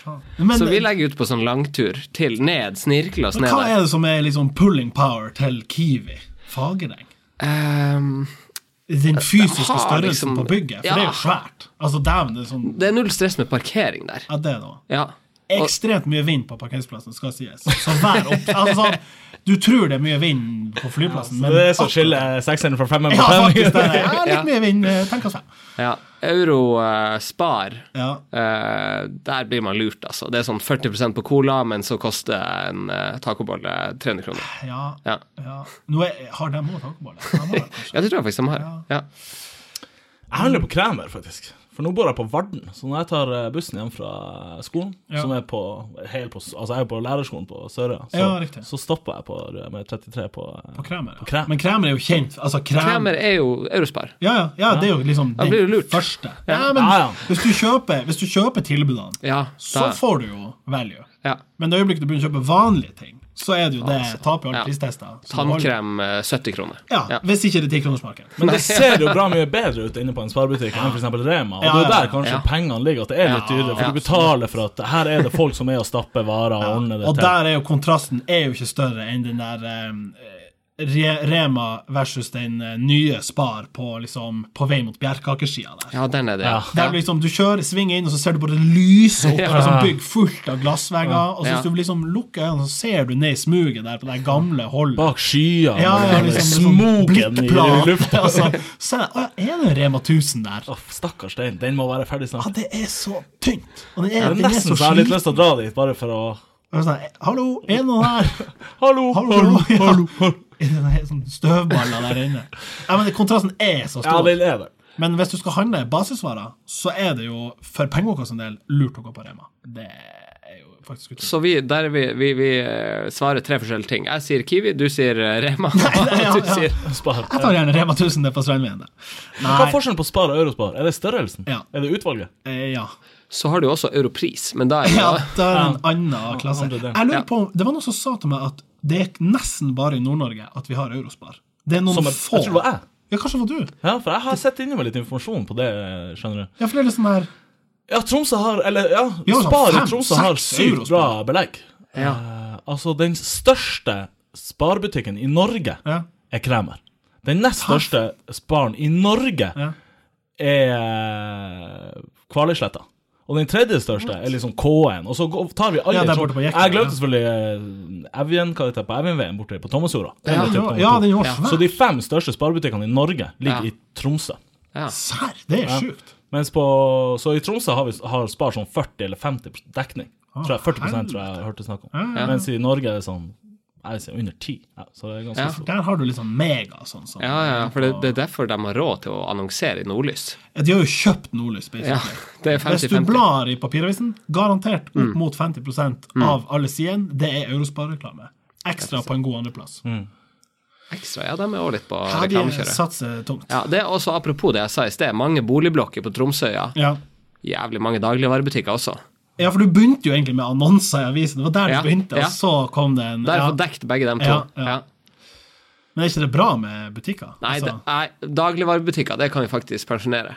B: Faen. Men, eh,
C: Så vi legger ut på sånn langtur til ned, snirkler oss
B: men
C: ned
B: hva
C: der.
B: er det som er liksom pulling power til Kiwi Fagereng?
C: Ehm,
B: Den fysiske
C: har
B: størrelsen
C: liksom-
B: på bygget, for
C: Ja.
B: det er jo svært. Altså, dæven, det er sånn
C: det er null stress med parkering der.
B: Ja, det, da.
C: Ja. Og,
B: Ekstremt mye vind på parkeringsplassen, skal sies. Så vær opp... Altså, sånn, du tror det er mye vind på flyplassen, men
A: Det er så
B: akkurat-
A: skiller sekseren fra femmeren
B: [laughs] Ja,
A: på [laughs]
B: faktisk. Det
A: femmeren.
B: er det. Ja, litt mye vind. eh, Tenk oss frem.
C: ja. Euro eh, Spar,
B: Ja.
C: eh, der blir man lurt, altså. Det er sånn 40 på cola, men så koster en eh, tacobolle 300 kroner.
B: Ja.
C: Ja.
B: ja. Nå er, har de òg tacoboller?
C: ja, det tror jeg faktisk de har. Ja.
A: Jeg handler på Kremer, faktisk. For nå bor jeg på Varden. Så når jeg tar eh, bussen hjem fra eh, skolen,
B: Ja.
A: som er på, helt på Altså, jeg er jo på lærerskolen på Sørøya, så,
B: Ja, riktig.
A: så stopper jeg på med 33 på eh,
B: På kremer. Ja.
A: krem.
B: Men kremer er jo kjent. Altså, krem,
C: Kremer er jo Eurospar.
B: Ja, ja, ja, det er jo liksom
C: Da blir du lurt.
B: første. Ja, men
A: Ja, ja.
B: Hvis, du kjøper, hvis du kjøper tilbudene,
C: Ja,
B: så
C: da,
B: får du jo value.
C: ja.
B: Men det øyeblikket du begynner å kjøpe vanlige ting, så er det jo det taper jo alle
C: Ja.
B: pristester. Så du holder-
C: Tannkrem eh, 70 kroner.
B: Ja,
C: Ja.
B: Hvis ikke det er tikronersmarked.
A: Men det
B: [laughs]
A: ser jo bra mye bedre ut inne på en sparebutikk enn for eksempel Rema. Og det er
B: Ja, ja,
A: der kanskje
C: ja.
A: pengene ligger, at det er litt
C: Ja,
A: dyrere. For
C: ja.
A: du betaler for at her er det folk som er og stapper varer og ordner det
B: Og
A: til.
B: der er jo kontrasten er jo ikke større enn den der eh, Re Rema versus den eh, nye Spar på, liksom, på vei mot bjerkakeskia der.
C: Ja, den er det.
A: Ja.
B: Der du liksom, Du kjører, svinger inn, og så ser du bare det lyse opp.
C: Ja.
B: Ja. Sånn bygg fullt av glassvegger. Og så
C: Ja.
B: hvis du liksom lukker øynene, så ser du ned i smuget der på det gamle holdet.
A: Bak skyene.
B: Ja, ja, liksom,
A: smoken i
B: blittplan.
A: lufta.
B: [laughs] altså, så er det, «Å, er det en Rema 1000 der?
A: Åh, Stakkars den. Den må være ferdig
B: Ja,
A: snart.
B: det er så tynt! Og den
A: Det
B: er,
A: er
B: den er
A: nesten så
B: så
A: jeg har litt
B: sliten.
A: lyst til å dra dit, bare for å
B: Og sånn, Hallo, er det
A: [laughs]
B: noen her?
A: Hallo,
B: Hallo,
A: hallo,
B: ja.
A: hallo. hallo.
B: [laughs] I den her sånn støvballa der inne. Ja, men Kontrasten er så
A: Ja,
B: stor.
A: den er det.
B: Men hvis du skal handle basisvarer, så er det jo for pengeboka sin del lurt å gå på Rema. Det er jo faktisk utrolig.
C: Så vi, der er vi, vi, vi eh, svarer tre forskjellige ting. Jeg sier Kiwi, du sier eh, Rema,
B: ja,
C: og [laughs] du
B: ja.
C: sier
A: Spar.
B: Jeg tar gjerne Rema 1000 ned på Strandveien. der.
A: Hva er
B: Nei,
A: forskjellen på spar og eurospar? Er det størrelsen?
B: Ja.
A: Er det utvalget?
B: eh, ja.
C: Så har du også Europris, men da er det
B: [laughs] ja.
C: jo
B: Det er en annen klasse.
A: andre der.
B: Jeg
C: Ja.
B: lurer på, om- Det var noen som sa til meg at det er nesten bare i Nord-Norge at vi har Eurospar. Det er noen
A: Som jeg,
B: få.
A: jeg tror det var jeg.
B: Ja, kanskje det var du?
A: Ja, for jeg har sett inni meg litt informasjon på det, skjønner du.
B: Ja, for det er liksom her
A: Ja, Tromsø har Eller, ja,
B: Vi har sånn
A: Spar i
B: fem,
A: Tromsø har
B: seks
A: sykt bra
B: Eurospar.
A: belegg. Eh, altså, den største sparbutikken i Norge
B: ja.
A: er Kremer. Den nest største sparen i Norge
B: Ja.
A: er Kvaløysletta. Og den tredje største er liksom K1. Og så går- tar vi alle
B: Ja,
A: i
B: der
A: Tromsø.
B: borte på Jekta,
A: Jeg
B: ja.
A: glemte selvfølgelig eh, Evjen, hva heter det på Evjenveien borte på Thomasjorda. Den er
B: Den
A: typ
B: var-
A: nummer
B: ja,
A: to.
B: den var
C: Ja.
A: Så
B: svær.
A: de fem største sparebutikkene i Norge ligger
C: Ja.
A: i Tromsø.
C: ja.
B: Serr, det er sjukt.
A: Mens på, så i Tromsø har, vi, har Spar sånn 40 eller 50 dekning. Tror jeg, 40 tror jeg jeg hørte snakk om. Mens i Norge er det sånn jeg vil si under 10. Ja, så det er ganske
C: Ja.
A: stort.
B: Der har du liksom mega sånn som
C: Ja, ja, for det, det er derfor de har råd til å annonsere i Nordlys.
B: De har jo kjøpt Nordlys, basically.
C: Ja, det er Mm.
B: Hvis du
C: 50-50.
B: blar i papiravisen, garantert opp mot 50
C: Mm.
B: av alle sidene, det er Eurospar-reklame. Ekstra på en god andreplass. Mm.
C: Ekstra, ja, de er også litt på
B: De
C: reklamekjøret.
B: satser tungt.
C: Ja, det er også apropos det jeg sa i sted, mange boligblokker på Tromsøya.
B: Ja.
C: Jævlig mange dagligvarebutikker også.
B: ja, for du begynte jo egentlig med annonser i avisen. Det var der
C: Ja,
B: du begynte,
C: ja.
B: og så kom det en
C: Der
B: ja.
C: får dekt begge dem to.
B: Ja, ja.
C: Ja.
B: Men er ikke det bra med butikker?
C: Nei, det,
B: Altså,
C: nei, dagligvarebutikker, det kan vi faktisk pensjonere.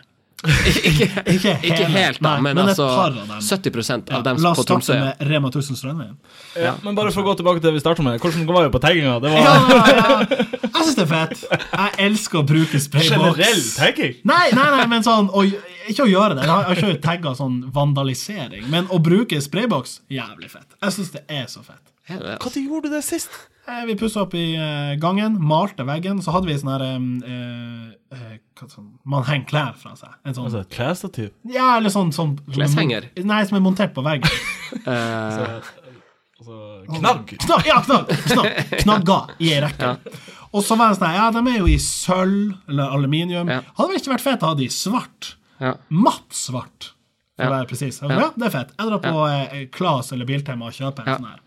B: ikke,
C: Ikke helt, da,
B: Nei,
C: men,
B: et
C: altså
B: par av dem.
C: 70 av dem
B: La oss
C: på
B: starte
C: Tromsøya.
B: med Rema 1000 Strandveien.
A: Ja, men bare for å gå tilbake til det vi startet med, hvordan var vi på tagginga? Det var
B: Ja, ja. Jeg syns det er fett. Jeg elsker å bruke sprayboks.
A: generell tagging.
B: Nei, nei, nei, men sånn å, Ikke å gjøre det. Jeg har jeg har ikke tagga sånn vandalisering. Men å bruke sprayboks jævlig fett. Jeg syns det er så fett.
C: Er det, altså?
A: Når gjorde du det sist?
B: Eh, Vi pussa opp i eh, gangen, malte veggen. Så hadde vi sånn her eh, eh, hva sånn, Man henger klær fra seg. En sånn,
A: Altså, et klesstativ.
B: ja, eller sånn, sånn
C: Kleshenger?
B: Nei, som er montert på veggen.
C: Eh,
A: Altså, knagg.
B: Knag, ja, knag, knag, knagga i ei rekke. Og så var det sånn her, Ja, de er jo i sølv eller aluminium.
C: Ja.
B: Hadde vel ikke vært fett å ha de i svart.
C: ja.
B: matt svart. For
C: Ja.
B: å være presis. Ja. ja, det er fett. Jeg drar på eh, Klas eller Biltema og kjøper en
C: Ja.
B: sånn her.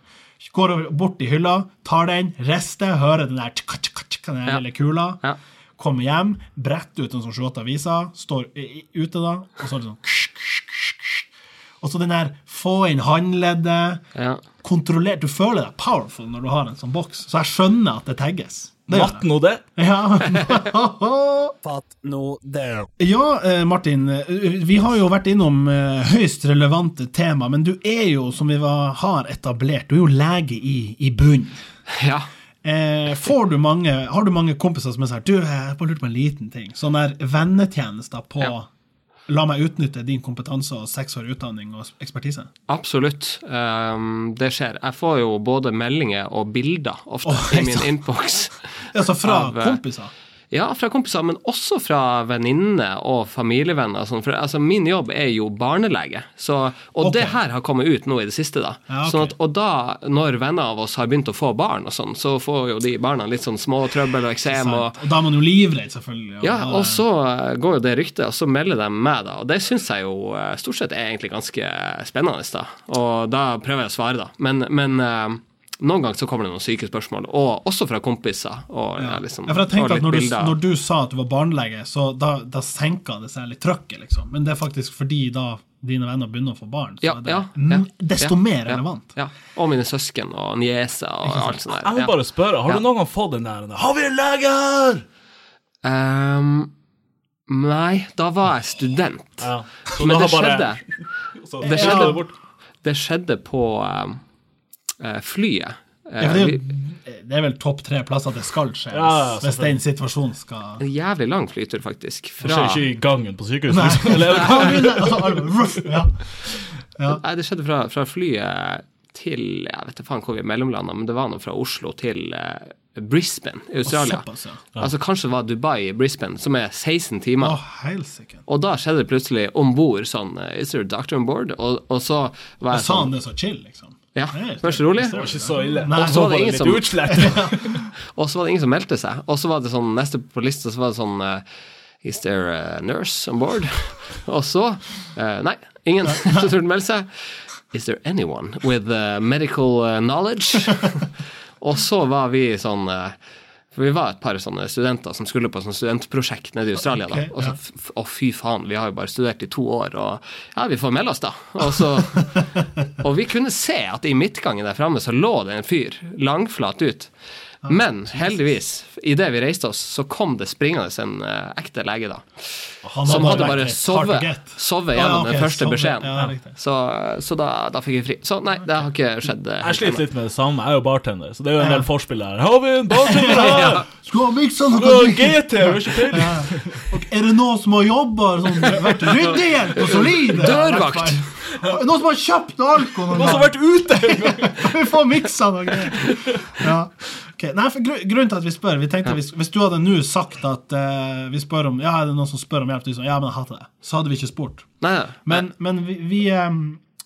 B: Går over- bort i hylla, tar den, rister, hører den der tsk, tsk, tsk, den der
C: Ja.
B: lille kula.
C: Ja.
B: Kommer hjem, bretter ut en sånn 28 aviser, står i- i- ute da, og så er det sånn ksh, ksh, ksh, ksh. Og så den der få inn håndleddet,
C: Ja. [laughs]
B: kontrollert Du føler deg powerful når du har en sånn boks, så jeg skjønner at det tagges. Det gjør
A: Matt
B: jeg.
A: nå det.
B: Ja. [laughs]
D: Fatt nå det.
B: Ja, eh, Martin. eh, Vi har jo vært innom eh, høyst relevante tema, men du er jo, som vi var, har etablert, du er jo lege i, i bunn.
C: ja.
B: Eh, får du mange, har du mange kompiser som er sånn her, Du, jeg bare lurte på en liten ting. Sånn der vennetjenester på
C: Ja.
B: La meg utnytte din kompetanse og seks år utdanning og ekspertise.
C: Absolutt. Ehm, det skjer. Jeg får jo både meldinger og bilder ofte
B: Åh,
C: i min
B: sant.
C: innboks.
B: Altså fra
C: Av, eh,
B: kompiser.
C: Ja, fra kompiser, men også fra venninner og familievenner. og sånn, For altså, min jobb er jo barnelege, så, og
B: Ok.
C: det her har kommet ut nå i det siste. da.
B: Ja, ok.
C: sånn at, og da, når venner av oss har begynt å få barn, og sånn, så får jo de barna litt sånn småtrøbbel og eksem. og
B: Og da er man jo livredd, selvfølgelig.
C: ja,
B: da-
C: og så eh, går jo det ryktet, og så melder de meg, da. Og det syns jeg jo eh, stort sett er egentlig ganske eh, spennende, da. Og da prøver jeg å svare, da. Men, men eh, noen ganger så kommer det noen syke spørsmål, og også fra kompiser. Og, ja. liksom,
B: ja, for jeg
C: og
B: tenkte at
C: litt
B: når du,
C: bilder.
B: når du sa at du var barnelege, så da, da senka det seg litt trøkket, liksom. Men det er faktisk fordi da dine venner begynner å få barn, så
C: Ja,
B: er det
C: ja,
B: mm,
C: ja,
B: desto
C: ja,
B: mer
C: ja,
B: relevant.
C: Ja. Og mine søsken og nieser og alt sånt
A: Jeg må
C: der. Ja.
A: bare spørre, har
C: Ja.
A: du noen gang fått den der Har vi en lege her?!
C: Ehm, nei, da var jeg student.
A: Ja. Så
C: Men
A: da
C: det
A: har bare-
C: skjedde.
A: så-
C: Det
A: Ja,
C: skjedde,
A: bort.
C: det skjedde på ehm, eh, flyet. Eh,
B: Ja, for det, er
C: vi-
B: jo, det er vel topp tre plasser det skal skje,
A: Ja, ja,
B: hvis- hvis den situasjonen skal
C: [laughs] En jævlig lang flytur, faktisk.
A: Det
C: Fra,
A: skjer ikke i gangen på sykehuset. Liksom. Eller,
B: Altså, alle bare, ruff, ja.
C: nei, det skjedde fra, fra flyet til Jeg vet ikke faen hvor vi mellomlanda, men det var noe fra Oslo til eh, Brisbane i Australia.
B: såpass, ja.
C: Altså Kanskje det var Dubai i Brisbane, som er 16 timer.
B: Å, helsike.
C: Og da skjedde det plutselig om bord sånn eh, Is there a doctor on board? Og, og så var jeg
B: Sa han
C: sånn
B: det så chill, liksom?
C: Ja,
B: Nei,
C: vær så rolig.
B: det
A: det
B: står
A: var
B: ikke
A: ikke så ille.
B: Nei,
A: Og
B: så
A: så
B: var
A: var
C: det
A: det
C: ingen
A: litt
C: som-
A: utslett.
C: Og så var det ingen som meldte seg. Og så var det sånn neste på lista så var det sånn eh, Is there a nurse on board? [laughs] og så eh, Nei, ingen [laughs] som turte melde seg. Is there anyone with eh, medical eh,
B: [laughs]
C: knowledge? og så var vi sånn eh, for Vi var et par sånne studenter som skulle på et sånt studentprosjekt nede i Australia. da,
B: Ok,
C: og så
B: ja.
C: f- f- Å, fy faen, vi har jo bare studert i to år, og ja, vi får melde oss, da. Og så og vi kunne se at i midtgangen der framme så lå det en fyr langflat ut.
B: Ah,
C: Men heldigvis, idet vi reiste oss, så kom det springende en eh, ekte lege, da.
B: Han
C: Som
B: var
C: hadde bare
B: litt hard to
C: sovet,
B: get.
C: sovet
B: Ah,
C: gjennom
B: ja,
C: den
B: ok,
C: første
B: sovet,
C: beskjeden.
B: ja, riktig.
C: så så da, da fikk vi fri. Så nei, det har ikke skjedd. eh,
A: Jeg sliter
C: ennå.
A: litt med det samme. Jeg er jo bartender, så det er jo en del forspill her. Har vi en bartender
C: [laughs]
A: her?
B: Skulle ha miksa
A: Du har GT, har ikke peiling.
B: Og er det noen som har jobba som har vært ryddehjelp og solide?
C: Dørvakt.
B: Noen som har kjøpt alko noen
A: Noen som har vært ute!
B: gang? Vi får miksa noe greier. Ja. Ok, Nei, for grunn- grunnen til at vi spør vi tenkte hvis, hvis du hadde nå sagt at eh, vi spør om Ja, er det noen som spør om hjelp? Du sa, sånn, ja, men jeg hater det. Så hadde vi ikke spurt.
C: Nei, nei.
B: Men, men vi, vi, em,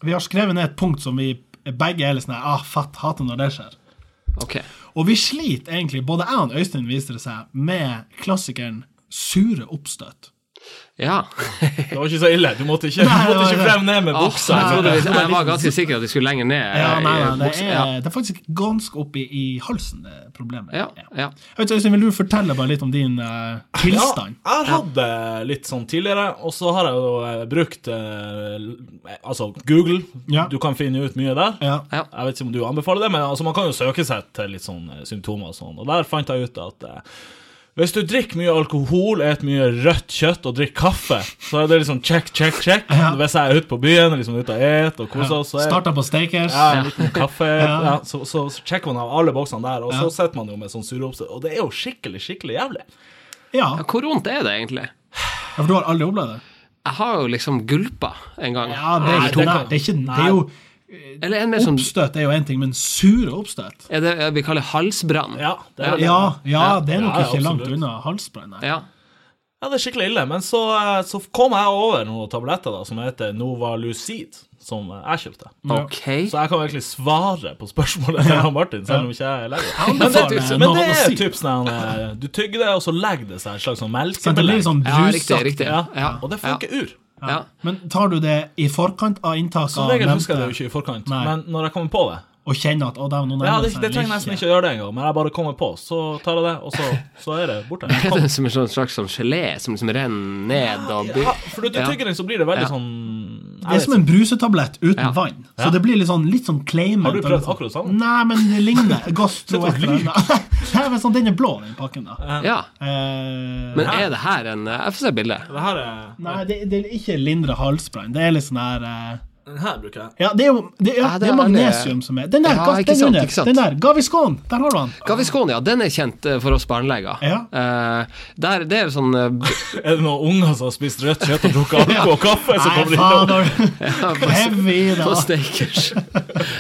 B: vi har skrevet ned et punkt som vi begge er litt sånn ah, fatt, hater når det skjer.
C: Ok.
B: Og vi sliter egentlig, både jeg og Øystein viser det seg, med klassikeren sure oppstøt.
C: Ja.
A: Det var ikke så ille. Du måtte ikke,
B: Nei,
A: du måtte
B: nei,
A: ikke
B: nei.
A: frem ned med
C: Ah,
A: buksa.
C: jeg, trodde vi, jeg var ganske sikker at vi skulle lenger ned. eh,
B: Ja, nei,
C: i
B: nei, det,
C: buksa.
B: er, det er faktisk ganske oppi i halsen, det problemet.
C: Ja, ja, ja.
B: Jeg vet ikke, Øystein, vil du fortelle bare litt om din eh, tilstand?
A: Ja, jeg har hatt det litt sånn tidligere, og så har jeg jo eh, brukt eh, altså Google.
B: Ja.
A: Du kan finne ut mye der.
B: Ja.
C: Ja.
A: Jeg vet ikke om du anbefaler det, men altså, man kan jo søke seg til litt sånn eh, symptomer og sånn. Og der fant jeg ut at eh, hvis du drikker mye alkohol, et mye rødt kjøtt og drikker kaffe, så er det liksom check, check, check. Hvis jeg er ute på byen, liksom ute og et og koser oss, så er
B: Starta på Stakers.
A: ja, en liten kaffe,
B: Ja.
A: ja. så, så, så sjekker man av alle boksene der, og
B: Ja.
A: så sitter man jo med sånn sureoppstøt, og det er jo skikkelig, skikkelig jævlig.
B: Ja,
C: Ja, Hvor vondt er det egentlig?
B: for du har aldri opplevd det?
C: Jeg har jo liksom gulpa en gang.
B: Ja, det er
A: Nei,
B: ikke,
A: det
B: nei,
A: kan-
B: det er, ikke, det er jo
C: Eller en mer sånn
B: Oppstøt er jo én ting, men sure oppstøt?
C: er det vi kaller halsbrann.
A: Ja, det er, ja.
B: Ja, ja, det er nok
A: Ja, ja,
B: ikke langt
A: absolutt.
B: unna halsbrann. nei.
C: Ja.
A: det er skikkelig ille. Men så, eh, så kom jeg over noen tabletter da, som heter Novalucid, som eh, jeg kjøpte.
C: Ok.
A: Så jeg kan virkelig svare på spørsmålet [laughs] til han Martin, selv om ikke jeg er lege. Men det,
B: anbefaler
A: men det er
B: Novalucid.
A: typ sånn eh, Du tygger det, og så legger det seg et slags sånn
B: Så det blir
A: melkebelegg.
B: litt sånn
C: Ja, riktig,
B: brusaktig.
C: riktig.
A: Ja,
C: Ja,
A: og det funker ur.
C: Ja.
B: Men tar du det i forkant av inntaket?
A: Som
B: av
A: regel husker jeg det
B: nevnte,
A: jo ikke i forkant,
B: Nei.
A: men når jeg kommer på det
B: Og kjenner at å, det er noen
A: Ja,
B: nærmer
A: det,
B: seg
A: det trenger jeg nesten ikke å gjøre det engang, men jeg bare kommer på, så tar jeg det, og så, så er det borte.
C: Er det som en sånn slags sånn gelé som liksom renner ned og blir
A: Ja, for du tygger den, så blir det veldig
C: Ja.
A: sånn jeg
B: Det er
A: vet
B: som
A: ikke.
B: en brusetablett uten
C: Ja.
B: vann. Så det blir litt sånn, litt sånn claimant.
A: Har du prøvd
B: eller sånn.
A: akkurat samme?
B: Nei, men det
A: [laughs]
B: ligner.
A: Sitter
B: Gastro
A: og
B: et eller annet. [laughs] Nei, men sånn, Den er blå, den pakken. da.
C: Ja.
B: Eh,
C: Men er det her en Jeg får se bildet.
A: Det her er
B: nei, det, det er ikke lindre halsbrann. Det er litt sånn her eh,
A: Den her bruker jeg.
B: Ja, det er jo det er,
C: Ja, det
B: det
C: er
B: er
C: veldig-
B: magnesium som er Den der,
C: Ja,
B: gass-
C: ikke
B: den
C: sant,
B: under.
C: ikke sant.
B: Den der, Gaviscon, der har du han.
C: Gaviscon, ja. Den er kjent eh, for oss barneleger.
B: Ja.
C: Eh, der, det er sånn eh, b-
A: Er det noen unger som har spist rødt kjøtt og [laughs] drukket alkohol og kaffe, så kommer de innom?
C: [laughs]
B: fader. Heavy, da.
C: på Stakers.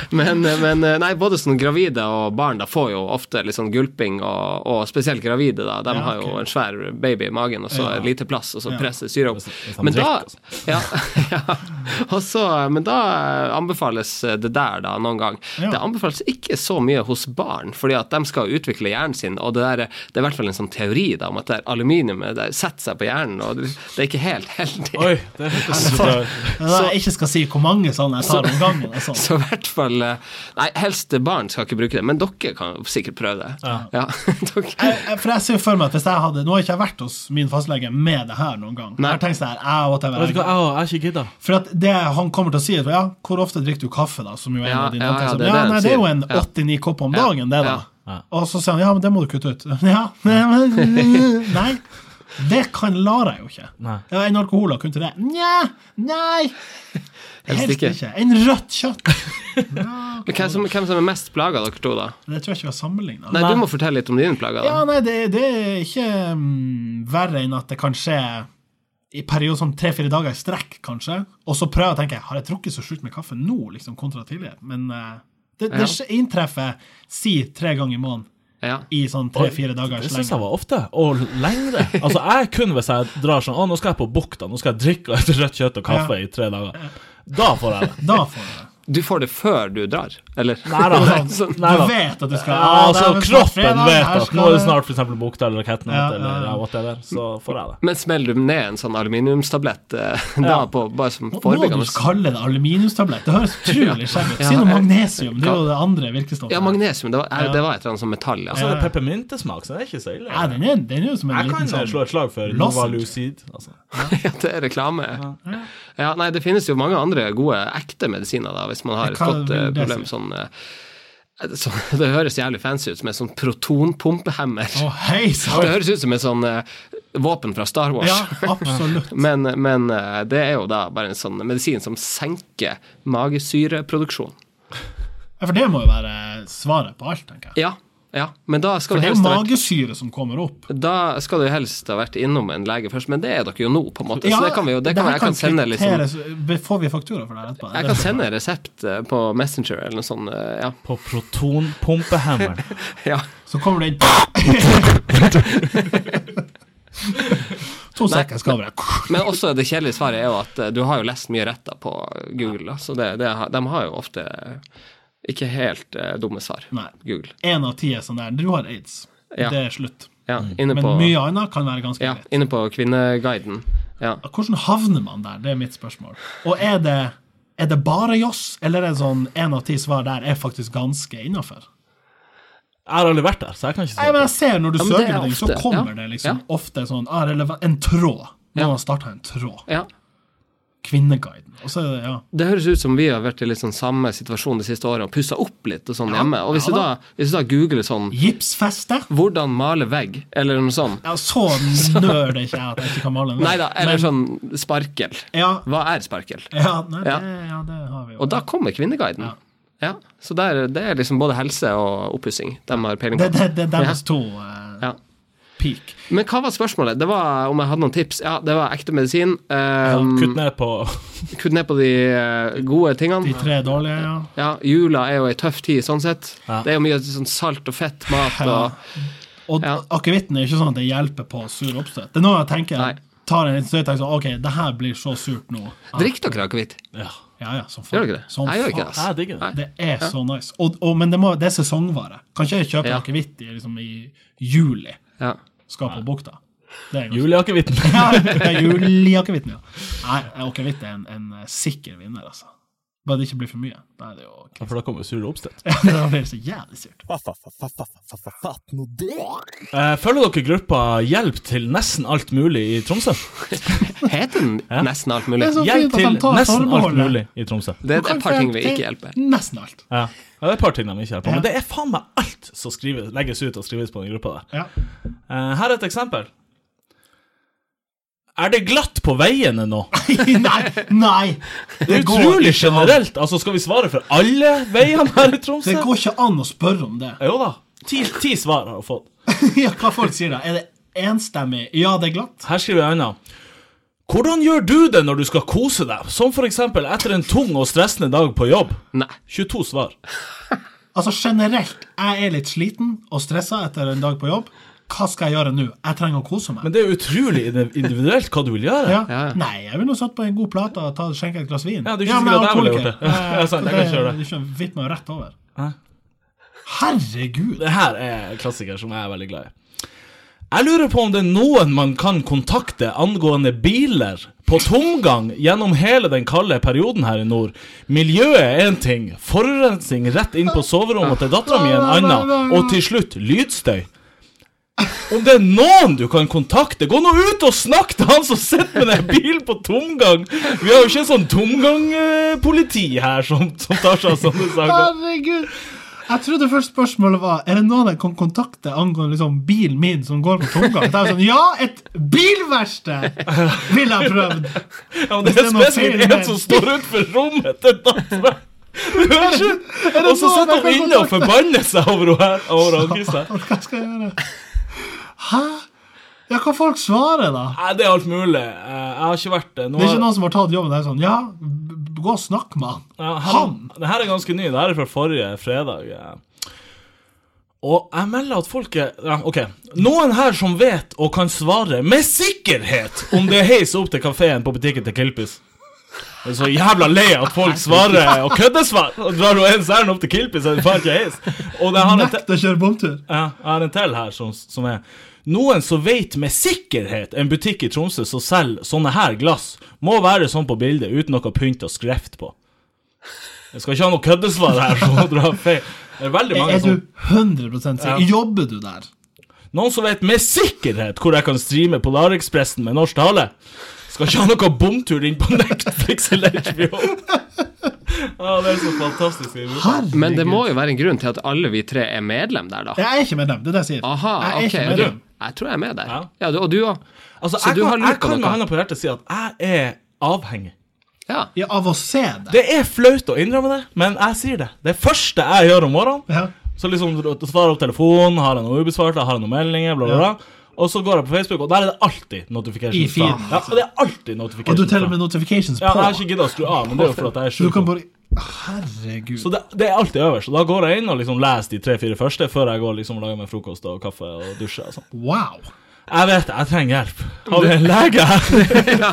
C: Men, eh, men eh, nei, både sånn gravide og barn da får jo ofte litt sånn gulping, og, og spesielt gravide. da, De
B: Ja,
C: har jo
B: ok.
C: en svær baby i magen og så
B: Ja.
C: lite plass, og så
B: Ja.
C: presses syre opp.
A: Hvis- hvis de
C: Men da,
A: drikker,
B: altså.
C: [laughs] ja, ja. Og så, eh, men da eh, anbefales eh, det der da noen gang.
B: Ja.
C: Det anbefales ikke så mye hos barn, fordi at de skal utvikle hjernen sin, og det, der, eh, det er i hvert fall en sånn teori da, om at det er aluminiumet det setter seg på hjernen, og det det er ikke helt heldig.
A: Oi, det hørtes ut
B: Det er da jeg ikke skal si hvor mange sånne jeg tar om gangen. og sånn.
C: [laughs] Så i hvert fall eh, Nei, helst barn skal ikke bruke det, men dere kan sikkert prøve det. Ja. [laughs] dere,
B: Jeg, jeg- for jeg ser jo for meg at hvis jeg hadde Nå har ikke jeg vært hos min fastlege med det her noen gang.
C: Nei.
B: Jeg har tenkt sånn her, eh, whatever.
A: Vet du hva, jeg har- jeg har ikke gidda.
B: For at det han kommer til å si, er ja, hvor ofte drikker du kaffe, da? Som jo er en
C: Ja,
B: av dine
C: ja, ja,
B: antakelser.
C: det er
B: ja,
C: det han
B: nei, det er jo
C: sier.
B: en
C: Ja.
B: 89 kopp om
C: Ja,
B: dagen, det, da.
A: ja.
B: Og så sier han ja, men det må du kutte ut. [laughs] Ja, nei, men [laughs] Nei. Det kan lar jeg jo ikke.
A: Nei.
B: Ja, en alkohol har kunnet det. Nja, nei. Helst
C: ikke.
B: ikke. En rødt kjøtt. [laughs]
C: Men hvem, som, hvem som er mest plaga, dere to, da?
B: Det tror jeg ikke vi har sammenligna.
C: Nei, du må fortelle litt om dine plager.
B: Ja,
C: Da.
B: nei, det, det er ikke mm, verre enn at det kan skje i perioder som tre-fire dager i strekk, kanskje. Og så prøver jeg å tenke har jeg drukket så sjukt med kaffe nå, liksom, kontra tidligere. Men eh, det, det skje- inntreffer si tre ganger i måneden
C: Ja.
B: i sånn tre-fire dager.
A: Det syns jeg var ofte. Og lengre. Altså, jeg kun hvis jeg drar sånn Å, nå skal jeg på bukta, nå skal jeg drikke et rødt kjøtt og kaffe i tre dager. Da får jeg det.
B: Da får du det.
C: Du får det før du drar, eller?
A: Nei [laughs] da.
C: Sånn.
A: [laughs] Nei
B: Du
A: da.
B: vet at du skal
A: Ja,
B: ah,
A: altså,
B: det er vel snart
A: kroppen
B: fredag,
A: vet
B: her
A: at
B: skal
A: nå er det
B: det-
A: snart for eksempel bukta eller Catnut
B: Ja, ja,
A: eller
B: ja.
A: ja, whatever, så får jeg det.
C: [laughs] Men smeller du ned en sånn aluminiumstablett eh, [laughs] da,
A: Ja.
C: på, bare som
B: Må du
C: forebyggende?
B: kalle det aluminiumstablett? Det høres utrolig skjevt ut.
C: Ja,
B: Si noe
C: ja.
B: magnesium. Det er jo det andre virkestoffet.
C: Ja, magnesium. Det var, eh, det var et eller annet sånn metall. Ja.
A: Og så er det peppermyntesmak, så det er ikke så ille.
B: Ja, den er, den er jo som en
A: Jeg
B: liten
A: kan
B: sånn
A: slå et slag for
B: lozenge.
A: Nova Lucid. Altså.
C: [laughs] Ja, det er reklame. Ja. nei, det finnes jo mange andre gode, ekte medisiner, da, hvis man har et
B: Hva
C: godt eh,
B: vil det
C: problem sånn eh, [laughs] så, Det høres jævlig fancy ut, som en sånn protonpumpehemmer. [laughs]
B: Å, hei sann!
C: Det høres ut som en sånn eh, våpen fra Star Wars.
B: Ja, absolutt.
C: Men, men eh, det er jo da bare en sånn medisin som senker magesyreproduksjon.
B: Ja, for det må jo være svaret på alt, tenker jeg.
C: Ja, ja. Men da skal
B: For
C: du
B: det er
C: helst ha vært
B: magesyre som kommer opp.
C: da skal du helst ha vært innom en lege først, men det er dere jo nå, på en måte.
B: Ja,
C: så det kan vi jo, det kan,
B: her
C: jeg kan sende liksom,
B: kvitteres- Får vi faktura for det her etterpå?
C: Jeg kan sende resept eh, på Messenger eller noe sånt. eh, Ja.
A: På
B: [laughs]
A: protonpumpehammeren.
C: ja.
B: Så kommer det inn [laughs] To sekker skal være
C: Men også det kjedelige svaret er jo at eh, du har jo lest mye rett da på Google. da, Så det, det, har- de har jo ofte ikke helt eh, dumme svar.
B: Nei.
C: Google.
B: Én av ti er sånn der. Du har aids.
C: Ja.
B: Det er slutt.
C: Ja, inne
B: Men
C: på,
B: mye annet kan være ganske
C: ja,
B: greit.
C: inne på Kvinneguiden. Ja.
B: Hvordan havner man der? Det er mitt spørsmål. Og er det, er det bare joss, eller er det sånn én av ti svar der er faktisk ganske innafor?
A: Jeg har aldri vært der, så jeg kan ikke
B: Nei,
A: si
B: men jeg ser når du
C: men
B: søker
C: det er
B: på ting, så
C: ofte,
B: kommer
C: ja.
B: det liksom ofte sånn ah, relevant, En tråd. Når man starter en tråd.
C: ja.
B: Kvinneguiden. Og så er det, ja.
C: Det høres ut som vi har vært i litt sånn samme situasjon det siste året og pussa opp litt og sånn hjemme. Og hvis,
B: ja
C: du da, hvis du da googler sånn
B: Gipsfeste?
C: 'Hvordan male vegg?' eller noe sånt.
B: Ja,
C: [laughs]
B: så nerd er ikke jeg at jeg ikke kan male en vegg.
C: Nei da, eller
B: Men-
C: sånn 'sparkel'.
B: Ja.
C: Hva er sparkel?
B: Ja, nei,
C: Ja.
B: Det, ja, det har vi jo.
C: Og da kommer Kvinneguiden. Ja. Så der, det er liksom både helse og oppussing de har peiling
B: det,
C: på.
B: det, det er deres
C: Ja.
B: to eh,
C: Ja.
B: peak.
C: Men hva var spørsmålet? Det var om jeg hadde noen tips. Ja, det var ekte medisin. Eh,
A: det. Kutt ned på
C: Kutt ned på de eh, gode tingene.
B: De tre dårlige, ja.
C: Ja, jula er jo ei tøff tid, sånn sett.
A: Ja.
C: Det er jo mye sånn salt og fett mat og
B: Og
C: Ja.
B: akevitten er ikke sånn at det hjelper på sur oppstøt. Det er noe jeg tenker
C: Nei.
B: tar en liten støt og tenker sånn, OK, det her blir så surt nå. Ja,
C: Drikk dere akevitt?
A: Ja,
B: ja, ja, som faen.
C: Gjør dere det?
B: Som
C: jeg gjør ikke
B: faen.
C: det.
A: jeg digger det.
B: Det er så nice. Og, og, men det, må, det er sesongvare. Kan ikke jeg kjøpe
C: Ja.
B: akevitt i, liksom, i juli?
C: Ja.
B: Skal på bukta. Det er ganske-
A: Juliakevitten.
B: Ja, det er juliakevitten, ja. Nei, akevitt er en, en eh, sikker vinner, altså. Bare det ikke blir for mye. Da er det jo [laughs]
A: Ja, For da kommer jo sure oppstøt.
B: Da blir det så jævlig surt.
D: Fatt nå det!
A: Eh, Følger dere gruppa Hjelp til nesten alt mulig i Tromsø?
C: Heter den nesten alt mulig?
B: Det er sånn- så
A: Hjelp
B: fint at
A: til
B: de tar
A: nesten alt
B: forbeholdet.
A: mulig i Tromsø.
C: Det
B: Du
C: er
B: kan
C: et par ting vi
B: få til
C: ikke hjelper.
B: Nesten alt.
A: Ja. ja, det er et par ting de ikke hjelper på,
B: Ja.
A: men det er faen meg alt som skrives, legges ut og skrives på den gruppa der.
B: Ja.
A: Eh, her er et eksempel. Er det glatt på veiene nå?
B: [laughs] nei, nei!
A: Det er
B: går
A: utrolig
B: ikke an.
A: generelt. Altså, Skal vi svare for alle veiene her i Tromsø?
B: Det går ikke an å spørre om det. [laughs]
A: Jo da. Ti, ti svar har hun fått.
B: ja, hva folk sier da? Er det enstemmig? Ja, det er glatt.
A: Her skriver jeg unna. Hvordan gjør du det når du skal kose deg, som for eksempel etter en tung og stressende dag på jobb?
C: Nei.
A: 22 svar.
B: Altså generelt, jeg er litt sliten og stressa etter en dag på jobb. Hva skal jeg gjøre nå? Jeg trenger å kose meg.
A: Men det er jo utrolig individuelt hva du vil gjøre.
B: ja.
C: Ja.
B: Nei, jeg vil nå satt på en god plate og ta, skjenke et glass vin.
A: Ja, det er ikke sikkert at
B: men
A: jeg ville
B: alkoholiker.
A: gjort det. [laughs] Ja,
B: Eh,
A: sant, jeg kan
B: så
A: kjøre det.
B: Du skjønner, vipp meg jo rett over.
A: Hæ?
B: Herregud!
A: Det her er en klassiker som jeg er veldig glad i. Jeg lurer på om det er noen man kan kontakte angående biler på tomgang gjennom hele den kalde perioden her i nord. Miljøet er én ting, forurensning rett inn på soverommet til dattera mi en annen, og til slutt lydstøy. Om det er noen du kan kontakte, gå nå ut og snakk til han som sitter med den bilen på tomgang! Vi har jo ikke en sånn tomgangpoliti her som, som tar seg av sånne saker.
B: Herregud! Jeg trodde først spørsmålet var Er det noen jeg kan kontakte angående liksom bilen min som går på tomgang. Så jeg var sånn, ja, et bilverksted ville jeg prøvd!
A: Ja, men det
B: Hvis
A: er
B: det er noe
A: spesielt
B: feil med-
A: en som står utenfor rommet til
B: [laughs]
A: dattera. Du hører ikke?
B: sånn? det sånn
A: Og så
B: noe
A: sitter
B: jeg kan
A: hun inne og
B: kontakte?
A: forbanner seg over hun her.
B: [laughs]
A: Over han Kristian.
B: Hva skal jeg gjøre? Hæ? Ja, hva folk svarer, da?
A: Nei, det er alt mulig. Eh, Jeg har ikke vært det. Nå
B: Det er ikke
A: har-
B: noen som har tatt jobben der sånn Ja, b- b- gå og snakk med han.
A: Ja, her,
B: Han!
A: Det her er ganske ny. Det her er fra forrige fredag. eh. Og jeg melder at folk er ja, OK. Noen her som vet og kan svare med sikkerhet om det er heis opp til kafeen på butikken til Kilpis. Jeg er så jævla lei at folk svarer og køddesvar. Og drar hun ens ærend opp til Kilpis, så er det faen ikke heis. Og det har en te-
B: Nekt å kjøre bomtur.
A: ja, jeg har en til her som, som er Noen som vet med sikkerhet en butikk i Tromsø som selger sånne her glass, må være sånn på bildet uten noe pynt og skreft på. Jeg skal ikke ha noe køddesvar her. Så [laughs] dra feil. Det er veldig mange
B: Er du
A: som
B: 100 sikker?
A: Ja.
B: Jobber du der?
A: Noen som vet med sikkerhet hvor jeg kan streame Polarekspressen med norsk tale. Skal ikke ha noe bomtur inn på [laughs] Netflix eller HBO. Ja, det er så fantastisk.
B: Herregud.
C: Men det må jo være en grunn til at alle vi tre er medlem der, da.
B: Jeg er ikke medlem, det er det jeg sier.
C: Aha,
B: jeg er
C: ok.
B: ikke
C: Du,
B: medlem.
C: jeg tror jeg er med der.
A: Ja.
C: Ja, du, og du òg.
A: Altså,
C: Så
A: jeg
C: du har
A: kan,
C: lurt
A: jeg
C: på
A: kan med
C: noe?
A: hånda på hjertet si at jeg er avhengig.
C: Ja. [laughs]
B: Ja, av å se det.
A: Det er flaut å innrømme det, men jeg sier det. Det første jeg gjør om morgenen,
B: Ja.
A: så liksom svarer opp telefonen, har jeg noe ubesvart, har jeg noen meldinger, bla, bla, bla. Og så går jeg på Facebook, og der er det alltid
B: I
A: notifications.
B: feeden,
A: fra. Ja, og det er alltid
B: Og
A: notifications.
B: du teller
A: fra.
B: med notifications
A: Ja, jeg har
B: på.
A: ikke giddet å skru av, men det er jo fordi at jeg er
B: Du
A: sjuk.
B: kan bare Herregud.
A: Så det, det er alltid øverst. Og da går jeg inn og liksom leser de tre-fire første før jeg går liksom og lager meg frokost og kaffe og dusjer og sånn.
B: Wow.
A: Jeg vet det, jeg trenger hjelp. Har vi en lege her?
B: [laughs]
C: ja.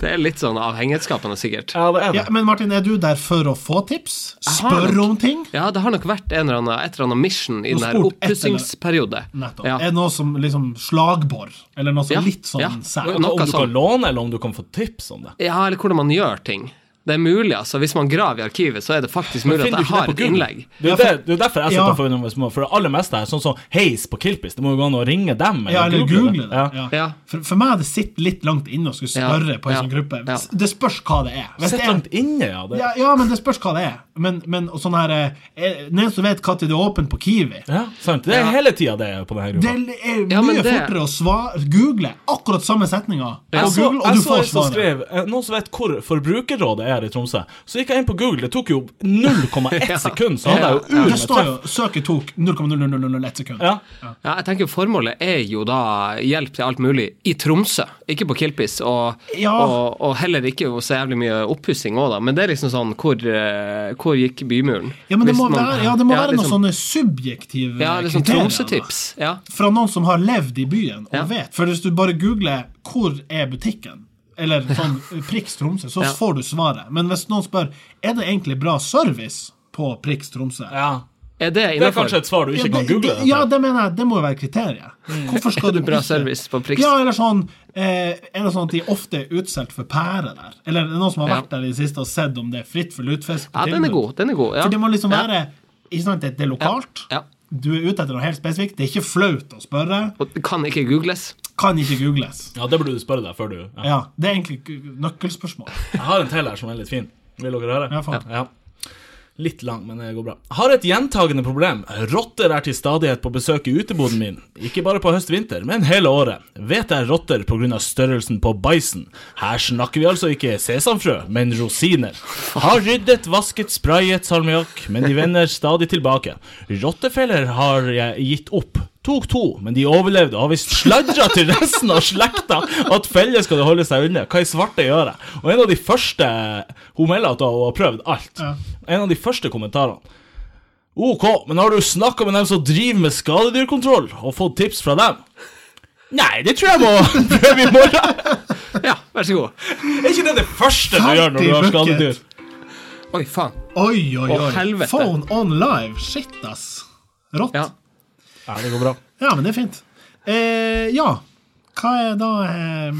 C: Det er litt sånn avhengighetsskapende, sikkert.
A: Ja, det er
B: Ja,
A: det.
B: men Martin, er du der for å få tips?
C: har
B: Spør
C: nok-
B: om ting?
C: Ja, det har nok vært en eller annen, et eller annet mission i
B: Noe
C: den
B: sport,
C: her
B: et eller-
C: oppussingsperiode.
B: Nettopp.
C: Ja.
B: Er det noe som liksom slagbor? Eller noe som
C: Ja,
B: litt sånn
C: ja.
B: sær?
C: Noe
A: Om du
C: sånn.
A: kan låne, eller om du kan få tips om det.
C: ja, eller hvordan man gjør ting. Det er mulig, altså. Hvis man graver i arkivet, så er det faktisk mulig at
A: Finner du
C: jeg
A: ikke
C: har
A: det på
C: et
A: Google?
C: innlegg.
A: Det er, jo det, det er jo derfor jeg sitter
B: Ja.
A: og forundrer meg små. For det aller meste her, sånn som heis på Kilpis, det må jo gå an å ringe dem.
B: Ja, eller google det.
A: Ja.
B: Ja.
C: Ja.
B: For, for meg det sitter litt langt inne å skulle spørre
C: Ja,
B: på en
C: ja,
B: sånn gruppe.
C: ja.
B: Det spørs hva det er. Hvis
A: Sett
B: det er
A: langt inne, ja. Det.
B: ja, ja, men det spørs hva det er. Men, men og sånn her eh, eh, Den eneste som vet når det er åpent på Kiwi
A: Ja, sant. Det er
C: Ja.
A: hele tida det er på denne
B: Det
A: gruppa.
B: er mye
C: Ja, men det-
B: fortere å svare, google akkurat samme setninga på
A: Jeg så,
B: Google, og
A: jeg
B: du
A: så en
B: får
A: som
B: svaret.
A: skrev eh, Noen som vet hvor Forbrukerrådet er i Tromsø? Så gikk jeg inn på Google, det tok jo 0,1 [laughs] sekund, så hadde jeg jo ur
B: Det
A: med
B: står
A: treff.
B: jo 'søket tok 0,0001 sekund'.
A: Ja.
C: Ja, jeg tenker Formålet er jo da hjelp til alt mulig i Tromsø, ikke på Kilpis. Og,
B: Ja.
C: og, og heller ikke så jævlig mye oppussing òg, da. Men det er liksom sånn Hvor, eh, hvor gikk bymuren?
B: Ja, men det
C: Hvis
B: må
C: man-
B: være, ja, det må være
C: liksom-
B: noen sånne subjektive
C: Ja, liksom
B: kriterier,
C: Tromsø-tips. Ja.
B: da. Fra noen som har levd i byen og
C: Ja.
B: vet. For hvis du bare googler 'Hvor er butikken?' eller sånn Priks Tromsø, så
C: Ja.
B: får du svaret. Men hvis noen spør 'Er det egentlig bra service på Priks Tromsø?'
A: ja.
C: Er det
A: Det er
C: innafor?
A: kanskje et svar du ikke kan
B: det-
A: google.
B: det- Ja, det mener jeg. Det må jo være kriteriet. Hvorfor skal du
C: Mm. Bra
B: pusse-
C: service på Prix.
B: Ja, eller sånn eh, Er det sånn at de ofte er utsolgt for pære der? Eller er det noen som har
C: Ja.
B: vært der i det siste og sett om det er fritt for lutefisk? på
C: Ja, den er
B: tilbud?
C: god. Den er god. Ja.
B: For det må liksom
C: Ja.
B: være ikke sant, det, det er lokalt.
C: Ja.
B: Du er ute etter noe helt spesifikt. Det er ikke flaut å spørre.
C: Og det kan
B: [laughs]
C: ikke googles.
B: Kan ikke googles.
A: ja, det burde du spørre deg før du ja.
B: Ja, Det er egentlig nøkkelspørsmål.
A: Jeg har en til her som er litt fin. Vil dere høre?
B: Ja, faen.
A: Ja. Litt lang, men det går bra. Har et gjentagende problem. Rotter er til stadighet på besøk i uteboden min. Ikke bare på høst-vinter, men hele året. Vet jeg rotter pga. størrelsen på bæsjen. Her snakker vi altså ikke sesamfrø, men rosiner. Har ryddet, vasket, sprayet salmiakk, men de vender stadig tilbake. Rottefeller har jeg gitt opp. Tok to, men de overlevde og har visst sladra til resten av slekta at feller skal det holde seg unna. Hva i svarte gjør jeg? Og en av de første Hun melder at hun har prøvd alt. En av de første kommentarene. OK, men har du snakka med dem som driver med skadedyrkontroll, og fått tips fra dem? Nei, det tror jeg må [laughs] prøve i morgen.
C: Ja, vær så god.
A: Er ikke det det første du
B: Ferdig
A: gjør når du har
B: bucket.
A: skadedyr?
C: Oi, faen.
B: Oi, oi,
C: Å,
B: oi.
C: helvete.
B: Phone on live. Shit, ass. Rått.
C: Ja.
B: Ja.
A: Ja, det går bra.
B: men det er fint. Eh, ja. Hva er da eh,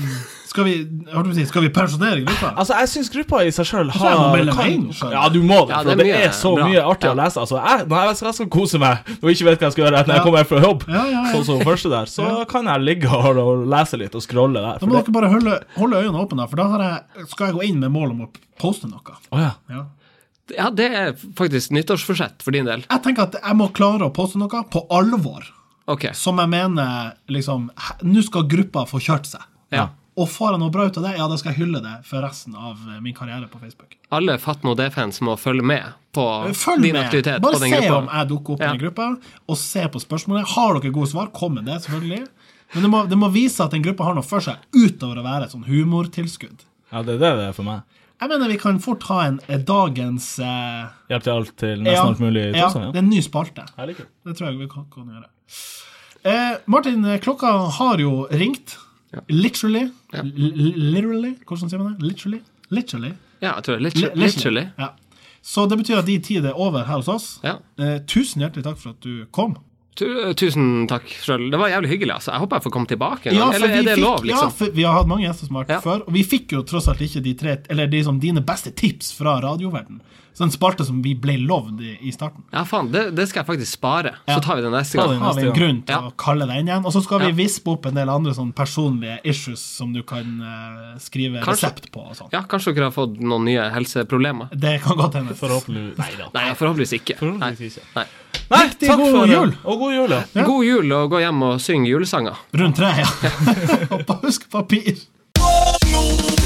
B: Skal vi jeg holdt på å si, Skal vi pensjonere gruppa?
A: Altså, jeg syns gruppa i seg sjøl
B: jeg må
A: har
B: melde meg
A: kan-
B: inn, skjønner du.
A: Ja, du må det,
C: Ja,
A: for
C: det er
A: det
C: mye
A: er så
C: bra.
A: mye artig
C: Ja.
A: å lese. Altså, jeg, når jeg, jeg skal kose meg og ikke vet hva jeg skal gjøre når jeg
B: Ja.
A: kommer hjem fra jobb,
B: Ja, ja, ja.
A: sånn som første der, så kan jeg ligge og, og lese litt og scrolle der.
B: Da
A: For
B: må
A: det,
B: dere bare holde, holde øynene åpne, da, for da har jeg, skal jeg gå inn med mål om å poste noe.
A: Å, ja.
B: Ja.
C: ja, det er faktisk nyttårsforsett for din del.
B: Jeg tenker at jeg må klare å poste noe på alvor,
C: Ok.
B: som jeg mener liksom he- Nå skal gruppa få kjørt seg.
C: Ja.
B: Og får jeg noe bra ut av det, ja, da skal jeg hylle det for resten av eh, min karriere på Facebook.
C: Alle Fatt nå det-fans må følge med på
B: Eh, Følg
C: din
B: med.
C: aktivitet
B: Bare
C: på den
B: se
C: gruppa.
B: om jeg dukker opp
C: Ja.
B: i den gruppa, og se på spørsmålet. Har dere gode svar, kom med det, selvfølgelig. Men det må, det må vise at den gruppa har noe for seg, utover å være et sånn humortilskudd.
A: ja, det er det det er for meg.
B: Jeg mener vi kan fort ha en eh, dagens eh,
A: Hjelp til alt til nesten alt mulig. i
B: ja,
A: Tromsø,
B: det er en ny spalte.
A: ja. Jeg liker det.
B: Det tror jeg vi kan, kan gjøre. Eh, Martin, eh, klokka har jo ringt. Literally. L- Literally, hvordan sier man det? Literally. Literally.
C: Ja, jeg tror det er
B: Li-
C: litt, litt chilly.
B: Ja. Så det betyr at din tid er over her hos oss.
C: Ja.
B: Eh, tusen hjertelig takk for at du kom.
C: Tu- eh, Tusen takk sjøl. Det var jævlig hyggelig. altså. Jeg håper jeg får komme tilbake en gang.
B: for
C: Eller
B: vi
C: er det
B: fikk-
C: lov,
B: Ja,
C: liksom?
B: for vi har hatt mange gjester som har vært
C: Ja.
B: før, og vi fikk jo tross alt ikke de tre, eller de, som dine beste tips fra radioverden. Så en spalte som vi ble lovd i, i starten.
C: Ja, faen, det, det skal jeg faktisk spare. Så tar vi det neste
A: Ta det
C: gang.
A: neste
B: har vi en
A: gang.
B: grunn til
C: Ja.
B: å kalle deg inn igjen. Og så skal vi
C: Ja.
B: vispe opp en del andre sånn personlige issues som du kan eh, skrive
C: Kanskje-
B: resept på. og sånn.
C: Ja, kanskje dere har fått noen nye helseproblemer?
B: Det kan godt hende.
A: Forhåpentlig. Nei da.
C: Nei, forhåpentligvis ikke. Nei.
A: Forhåpentligvis ikke.
C: Nei.
A: Nei,
B: Riktig
A: takk
B: god
A: for det.
B: jul.
A: Og god jul, ja.
C: God jul, og gå hjem og syng julesanger. [laughs]
B: Rundt treet, ja. Og på husk papir.
D: Nå